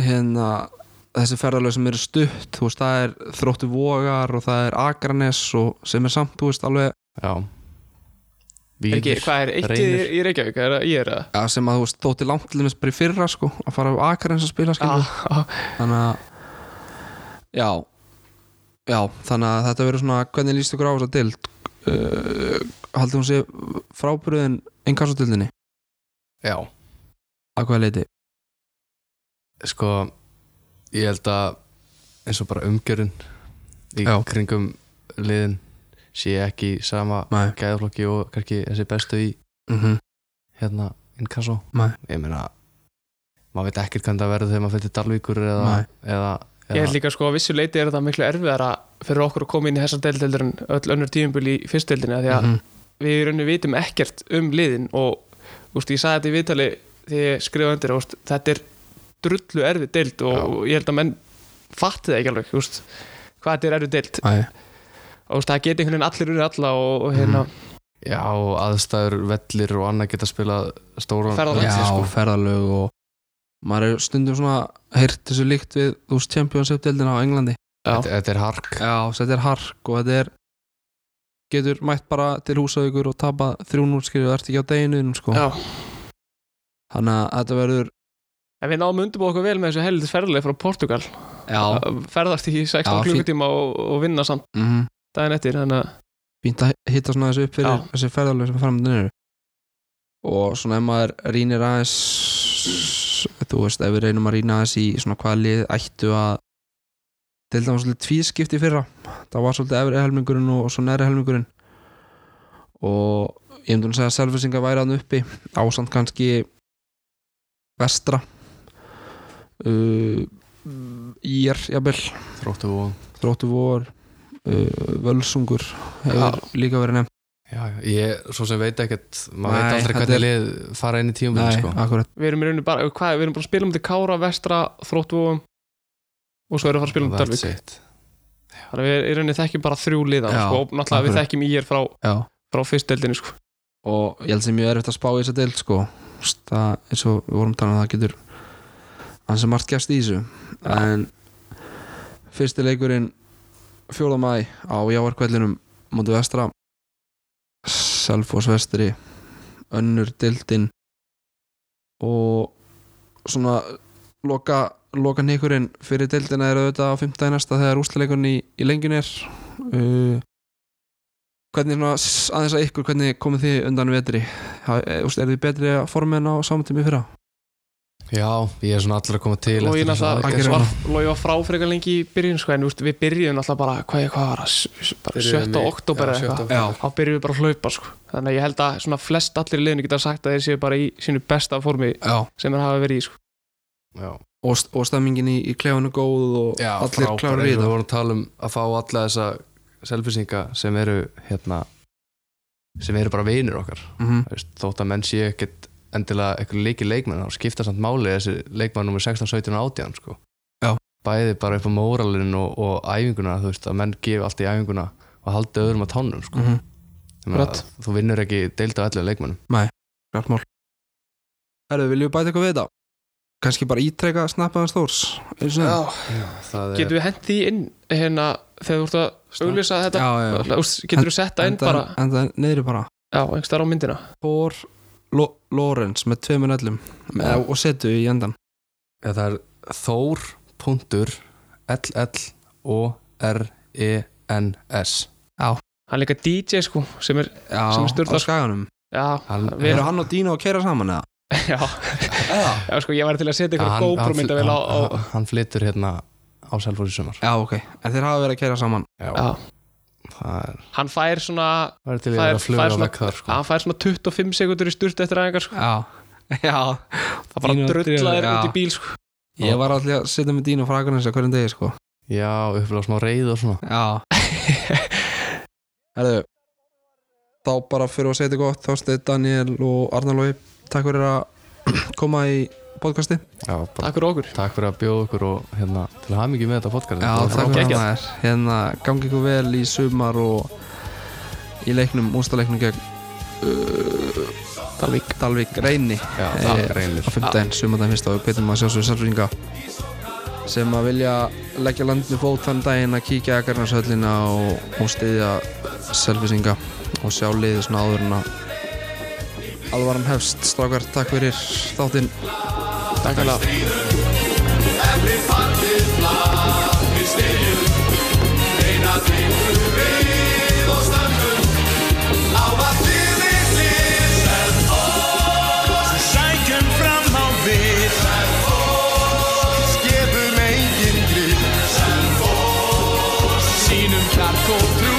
Speaker 1: hérna þessi ferðalög sem eru stutt þú veist, það er þróttu vogar og það er agranes og sem er samt, þú veist, alveg
Speaker 3: já
Speaker 2: Er ekki,
Speaker 3: Víður,
Speaker 2: hvað er eittið í,
Speaker 3: Reynir.
Speaker 2: í Reykjavík? Er, það- ég er það
Speaker 1: ja, sem að þú veist, þótti langt til dæmis bara í fyrra sko, að fara á agranes að spila skilur
Speaker 2: ah, ah,
Speaker 1: þannig að já, já þannig að þetta verður svona hvernig líst ykkur á þess að dild uh, haldið hún sé frábyrðin engasotildinni
Speaker 3: já,
Speaker 1: að hvaða leiti
Speaker 3: sko ég held að eins og bara umgjörun í
Speaker 1: Já.
Speaker 3: kringum liðin sé ekki í sama
Speaker 1: Nei.
Speaker 3: gæðaflokki og kannski þessi bestu í
Speaker 1: mm -hmm.
Speaker 3: hérna inkasso
Speaker 1: Nei.
Speaker 3: ég meina maður veit ekkert hvernig það verður þegar maður fyrir Dalvíkur eða, eða,
Speaker 2: Ég
Speaker 3: eða
Speaker 2: held líka sko að vissu leiti er það miklu erfiðara fyrir okkur að koma inn í þessa deildeldur en öll önnur tíumbil í fyrstdeildinni af
Speaker 3: Mhm.
Speaker 2: því að
Speaker 1: Mhm.
Speaker 2: við í rauninu vitum ekkert um liðin og úst, ég sagði þetta í viðtali þegar ég skrifa undir úst, þetta er drullu erfið deild og,
Speaker 3: Já.
Speaker 2: ég held að menn fatti það ekki alveg úst, hvað þetta er erfið deild
Speaker 1: Æ,
Speaker 2: og úst, það geti einhvern veginn allir úr alla og, og hérna,
Speaker 3: já, og aðstæður, vellir og annað geta spilað stóran
Speaker 2: Ferðalag.
Speaker 1: já,
Speaker 3: Já, sko.
Speaker 1: ferðalög og maður er stundum svona heyrt þessu líkt við þú veist Championship deildina á Englandi
Speaker 2: já,
Speaker 3: þetta, þetta er hark
Speaker 1: já, þetta er hark og þetta er getur mætt bara til húsavíkur og tapa 3-0 skilju og ert ekki á deginum sko.
Speaker 2: já.
Speaker 1: þannig að þetta verður
Speaker 2: en við náum undirbúið okkur vel með þessu heldur ferðarlega frá Portugal
Speaker 1: já,
Speaker 2: Að ferðast í 16
Speaker 1: Já, fín.
Speaker 2: klukkutíma og, og vinna samt
Speaker 1: mm
Speaker 2: daginn eftir þannig að
Speaker 1: fínt að hitta svona þessu upp fyrir
Speaker 2: Já.
Speaker 1: þessi ferðalög sem framöndan eru og svona ef maður rýnir aðeins þú veist, ef við reynum að rýna aðeins í svona hvaða lið ættu að til dæmis svolítið tvískipt í fyrra það var svolítið efri helmingurinn og, og svo næri helmingurinn og ég myndi að segja að selfisingar væri hann uppi ásand kannski vestra uh, ír, jafnvel
Speaker 3: þróttu og
Speaker 1: Þróttu vor uh, Völsungur hefur líka verið nefnt
Speaker 3: já, já, ég svo sem veit ekkert maður
Speaker 1: Nei,
Speaker 3: veit aldrei
Speaker 1: þetta
Speaker 3: hvernig
Speaker 1: er-
Speaker 3: lið fara inn í tíum sko.
Speaker 1: akkurat
Speaker 2: við erum í rauninu bara, hvað, við erum bara að spila um til Kára, Vestra, Þróttvóum og svo erum við að fara að spila um til Dalvik
Speaker 3: That's it.
Speaker 2: þannig að við í rauninni þekkjum bara þrjú liða
Speaker 1: Já,
Speaker 2: sko, og náttúrulega við
Speaker 1: akkurat.
Speaker 2: þekkjum í frá,
Speaker 1: Já.
Speaker 2: frá fyrstdeldinni sko.
Speaker 1: og ég held sem ég er eftir að spá í þessa deild sko. það, eins og við vorum talað um, það getur hann sem margt gæst í þessu en fyrsti leikurinn 4. mæ á Jáarkvellinum mútið vestra Selfoss vestri önnur deildin og svona loka, loka nýkurinn fyrir deildina er auðvitað á 5. næsta þegar úsleikurinn í, í lengjun er uh, hvernig svona s- aðeins að ykkur, hvernig komið þið undan vetri Ha- eh, úst, er þið betri að formin á samtími fyrra?
Speaker 3: já, ég er svona allir að koma til
Speaker 2: og ég
Speaker 3: eftir þessa
Speaker 1: að
Speaker 2: náttúrulega
Speaker 1: gera
Speaker 3: aðgerð.
Speaker 2: var lóið var frá frekar lengi í byrjun sko, en úst, við byrjum náttúrulega bara, hvað, hvað var það S- s- bara 7. oktober eða eitthvað
Speaker 1: Já.
Speaker 2: þá byrjum við bara að hlaupa sko. þannig að ég held að svona flest allir í liðinu geta sagt að þeir séu bara í sínu besta formi
Speaker 1: Já.
Speaker 2: sem þeir hafa verið í sko.
Speaker 3: já,
Speaker 1: og, st- og stemmingin í, í klefanu góð og
Speaker 3: já,
Speaker 1: allir
Speaker 3: frábær.
Speaker 1: klárir í þetta
Speaker 3: Eins og við vorum að tala um að fá alla þessa selfisinga sem eru hérna, sem eru bara vinir okkar
Speaker 1: Mhm.
Speaker 3: Þú veist, þótt að menn sé ekkit endilega eitthvað leikir leikmenn þá skipta samt máli þessi leikmann nummer 16, 17 og 18 sko.
Speaker 1: Já.
Speaker 3: bæði bara upp á móralin og, og æfinguna þú veist að menn gefi allt í æfinguna og haldi öðrum að tánum sko.
Speaker 1: Mhm.
Speaker 3: Ég meina,
Speaker 2: Rétt.
Speaker 3: þú vinnur ekki deildu allir leikmennum
Speaker 1: Klart mál Herðu, viljum við bæta eitthvað við þetta? Kannski bara ítreka snappaðan stórs einu sinni?
Speaker 3: það
Speaker 2: getum við hent því inn hérna, þegar þú ert að auglýsa þetta
Speaker 1: já, já, já.
Speaker 2: Úst, getur þú sett það inn bara
Speaker 1: En það neyðri bara
Speaker 2: já, einhvers þar á myndina
Speaker 1: Thor Lo Lawrence með tveimur öllum
Speaker 3: Já.
Speaker 1: og setu í endan
Speaker 3: Já, það er Þór punktur LL og R E N S
Speaker 2: hann er líka DJ sko, sem er,
Speaker 1: Já,
Speaker 2: Sem er
Speaker 1: á
Speaker 2: sturlað.
Speaker 1: skaganum
Speaker 2: já,
Speaker 3: Hann-
Speaker 2: við
Speaker 1: Eru
Speaker 2: erum
Speaker 1: hann og Dino að keira saman eða?
Speaker 2: já, já, sko, ég væri til að setja ykkur GoPro mynda vel á, á
Speaker 3: hann, hann, hann flytur hérna á Selfors í sumar
Speaker 1: Já, ok, en þeir hafa verið að keira saman
Speaker 2: já.
Speaker 3: það er,
Speaker 2: hann fær svona
Speaker 3: það er til
Speaker 2: Það er-
Speaker 3: að vera fluga
Speaker 2: það er
Speaker 3: á
Speaker 2: svona-
Speaker 3: vekk þar sko.
Speaker 2: hann fær svona 25 sekundur í sturt eftir aðeins sko.
Speaker 1: Já, já
Speaker 2: það bara
Speaker 1: Dino
Speaker 2: drullaðir
Speaker 1: drífur,
Speaker 2: út
Speaker 1: já.
Speaker 2: í bíl sko.
Speaker 1: Ég var alltaf að setja með Dino frakarnins á hverjum degi sko
Speaker 3: já, upplega smá reyð og svona
Speaker 1: Já Herðu Þá bara fyrir að segja þetta gott Þorsteinn, Daniel og Arnalói Takk fyrir að koma í podcasti
Speaker 3: já, bara,
Speaker 2: takk fyrir okkur
Speaker 3: takk. fyrir að bjóða okkur og hérna, til að hafa mikið með þetta podcast Þetta var
Speaker 1: takk
Speaker 3: frábært.
Speaker 1: fyrir að
Speaker 2: geggjað.
Speaker 1: maður Hérna, gangi ykkur vel í sumar og í leiknum, ústaleiknum gegn
Speaker 2: Dalvík
Speaker 1: Dalvik Reyni
Speaker 3: Já,
Speaker 1: eh,
Speaker 3: það reynir
Speaker 1: á fimmtudaginn, sumandaginn fyrst og betum að sjálfsögur sarfringa sem að vilja leggja landinu fót þann daginn að kíkja að garnarsöllina og, og stiðja selfisinga og sjá liðið svona áður en að alvaran hefst strákar, takk fyrir þáttinn
Speaker 2: Takk fyrir
Speaker 4: sækjum fram á við Skefum eigin grið Sýnum klark og trú